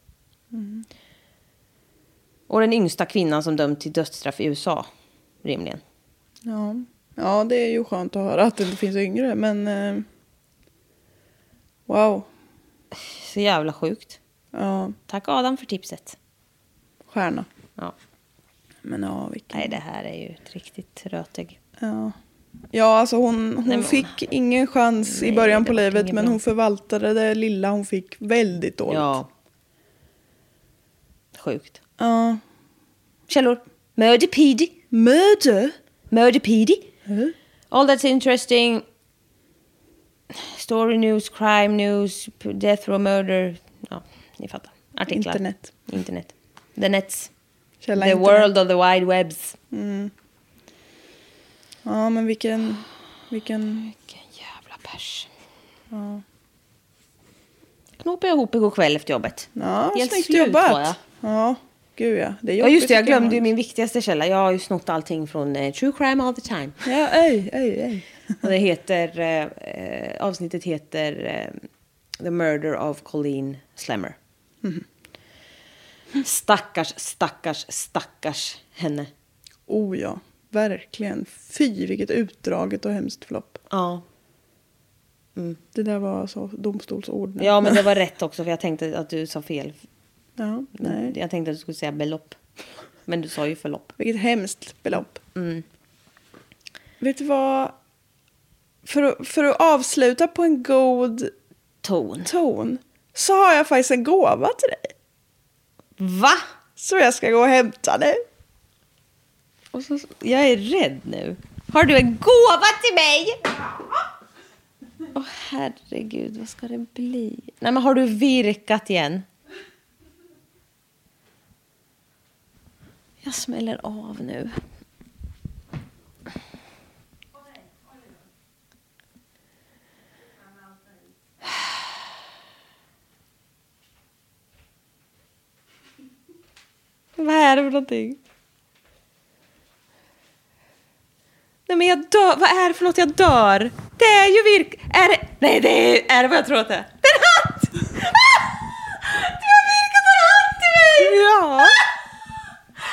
[SPEAKER 1] Och den yngsta kvinnan som dömts till dödsstraff i USA, rimligen.
[SPEAKER 2] Ja. ja, det är ju skönt att höra att det inte finns yngre, men... Eh, wow.
[SPEAKER 1] Så jävla sjukt.
[SPEAKER 2] Ja,
[SPEAKER 1] Tack Adam för tipset.
[SPEAKER 2] stjärna.
[SPEAKER 1] Ja.
[SPEAKER 2] Men ja, vilken...
[SPEAKER 1] Nej, det här är ju ett riktigt rötägg.
[SPEAKER 2] Ja. Ja, alltså hon, hon
[SPEAKER 1] men hon-
[SPEAKER 2] fick ingen chans i
[SPEAKER 1] Nej,
[SPEAKER 2] början
[SPEAKER 1] det
[SPEAKER 2] på
[SPEAKER 1] var
[SPEAKER 2] livet,
[SPEAKER 1] inget
[SPEAKER 2] men
[SPEAKER 1] bra.
[SPEAKER 2] hon förvaltade det lilla hon fick väldigt dåligt.
[SPEAKER 1] Ja. Sjukt.
[SPEAKER 2] Ja.
[SPEAKER 1] Källor. Murderpedi.
[SPEAKER 2] Murder?
[SPEAKER 1] Murderpedi. All that's interesting. Story news, crime news, p- death row murder. Ja, ni fattar. Artiklar.
[SPEAKER 2] Internet.
[SPEAKER 1] Internet. The nets.
[SPEAKER 2] Källa
[SPEAKER 1] the
[SPEAKER 2] internet.
[SPEAKER 1] world of the wide webs.
[SPEAKER 2] Ja, men vilken... Vilken...
[SPEAKER 1] Vilken jävla pers. Knopade jag ihop igår kväll efter jobbet.
[SPEAKER 2] Ja,
[SPEAKER 1] Helt
[SPEAKER 2] snyggt
[SPEAKER 1] slut var jag.
[SPEAKER 2] jobbat. Ja, gud ja. Det är
[SPEAKER 1] Ja just det, jag
[SPEAKER 2] jobbigt
[SPEAKER 1] glömde ju
[SPEAKER 2] ibland.
[SPEAKER 1] min viktigaste källa. Jag har ju snott allting från eh, True Crime All The Time.
[SPEAKER 2] Ja, ej, ej, ej.
[SPEAKER 1] Och det heter, eh, eh, avsnittet heter eh, The Murder of Colleen Slammer. Mm. Stackars, stackars, stackars henne.
[SPEAKER 2] Oh ja, verkligen. Fy, vilket utdraget och hemskt flopp.
[SPEAKER 1] Ja.
[SPEAKER 2] Det där var alltså så domstolsord. nu.
[SPEAKER 1] ja, men det var rätt också för jag tänkte att du sa fel.
[SPEAKER 2] ja, nej.
[SPEAKER 1] Jag tänkte att du skulle säga belopp. Men du sa ju förlopp.
[SPEAKER 2] Vilket hemskt belopp.
[SPEAKER 1] Mm.
[SPEAKER 2] Vet du vad? För att, för att avsluta på en god
[SPEAKER 1] Ton.
[SPEAKER 2] ton så har jag faktiskt en gåva till dig.
[SPEAKER 1] Va?
[SPEAKER 2] Som jag ska gå och hämta nu.
[SPEAKER 1] Och så, jag är rädd nu. Har du en gåva till mig? Åh herregud, vad ska det bli? Nej men har du virkat igen? Jag smäller av nu. Vad är det för någonting? Nej men jag dör, vad är det för något jag dör? Det är ju virk... Är det... Nej det är, är det vad jag tror att det är? Det är en hatt! Ah! Du har virkat en hatt till mig! Ja!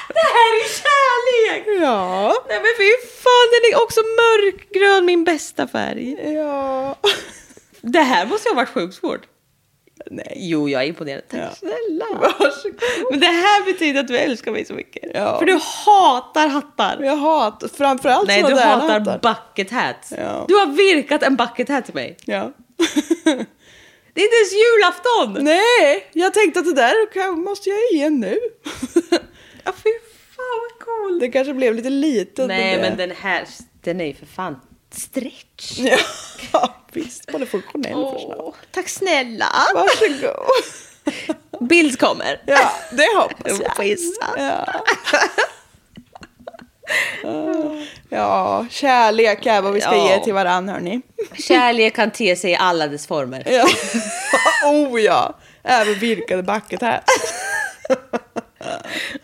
[SPEAKER 1] Det här är kärlek! Ja. Nej men fy fan den är också mörkgrön, min bästa färg.
[SPEAKER 2] Ja.
[SPEAKER 1] Det här måste ju ha varit sjukt svårt.
[SPEAKER 2] Nej.
[SPEAKER 1] Jo, jag är imponerad. Tack
[SPEAKER 2] Ja.
[SPEAKER 1] snälla.
[SPEAKER 2] Varsågod.
[SPEAKER 1] Men det här betyder att du älskar mig så mycket.
[SPEAKER 2] Ja.
[SPEAKER 1] För du hatar hattar.
[SPEAKER 2] Jag hatar framförallt
[SPEAKER 1] Nej, du
[SPEAKER 2] såna där
[SPEAKER 1] hatar
[SPEAKER 2] hattar.
[SPEAKER 1] bucket hats.
[SPEAKER 2] Ja.
[SPEAKER 1] Du har virkat en bucket hat till mig.
[SPEAKER 2] Ja.
[SPEAKER 1] Det är inte ens julafton!
[SPEAKER 2] Nej, jag tänkte att det där kan- måste jag igen nu.
[SPEAKER 1] Ja, fy fan vad coolt!
[SPEAKER 2] Det kanske blev lite litet.
[SPEAKER 1] Nej,
[SPEAKER 2] det-
[SPEAKER 1] men den här, den är ju för fan stretch.
[SPEAKER 2] Ja, visst. Både funktionell oh. förslag.
[SPEAKER 1] tack snälla!
[SPEAKER 2] Varsågod.
[SPEAKER 1] Bild kommer.
[SPEAKER 2] Ja, det hoppas
[SPEAKER 1] Jag
[SPEAKER 2] jag.
[SPEAKER 1] gissar.
[SPEAKER 2] Ja. ja, kärlek är vad vi ska
[SPEAKER 1] Ja.
[SPEAKER 2] ge till varandra, hörni.
[SPEAKER 1] Kärlek kan te sig i alla dess former.
[SPEAKER 2] Ja. oh ja, även virkade bucket här.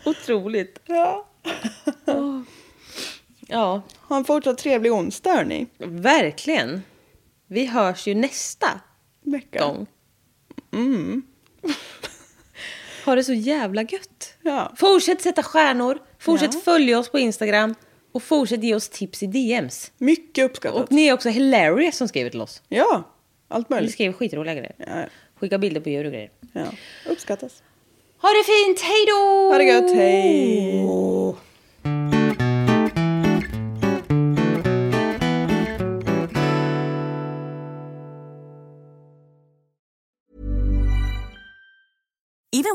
[SPEAKER 1] Otroligt.
[SPEAKER 2] Ja.
[SPEAKER 1] Ja,
[SPEAKER 2] Ha en fortsatt trevlig onsdag, hörni.
[SPEAKER 1] verkligen. Vi hörs ju nästa
[SPEAKER 2] Vecka.
[SPEAKER 1] gång.
[SPEAKER 2] Mm.
[SPEAKER 1] ha det så jävla gött.
[SPEAKER 2] Ja.
[SPEAKER 1] Fortsätt sätta stjärnor, fortsätt
[SPEAKER 2] Ja.
[SPEAKER 1] följa oss på Instagram och fortsätt ge oss tips i DMs.
[SPEAKER 2] Mycket uppskattat.
[SPEAKER 1] Och ni är också hilarious som skriver till oss.
[SPEAKER 2] Ja, allt
[SPEAKER 1] Ni
[SPEAKER 2] möjligt.
[SPEAKER 1] skriver skitroliga grejer.
[SPEAKER 2] Ja,
[SPEAKER 1] Skicka bilder på djur och grejer.
[SPEAKER 2] ja. Uppskattas.
[SPEAKER 1] Ha det fint, hej då!
[SPEAKER 2] Ha det gött, hej!
[SPEAKER 5] Even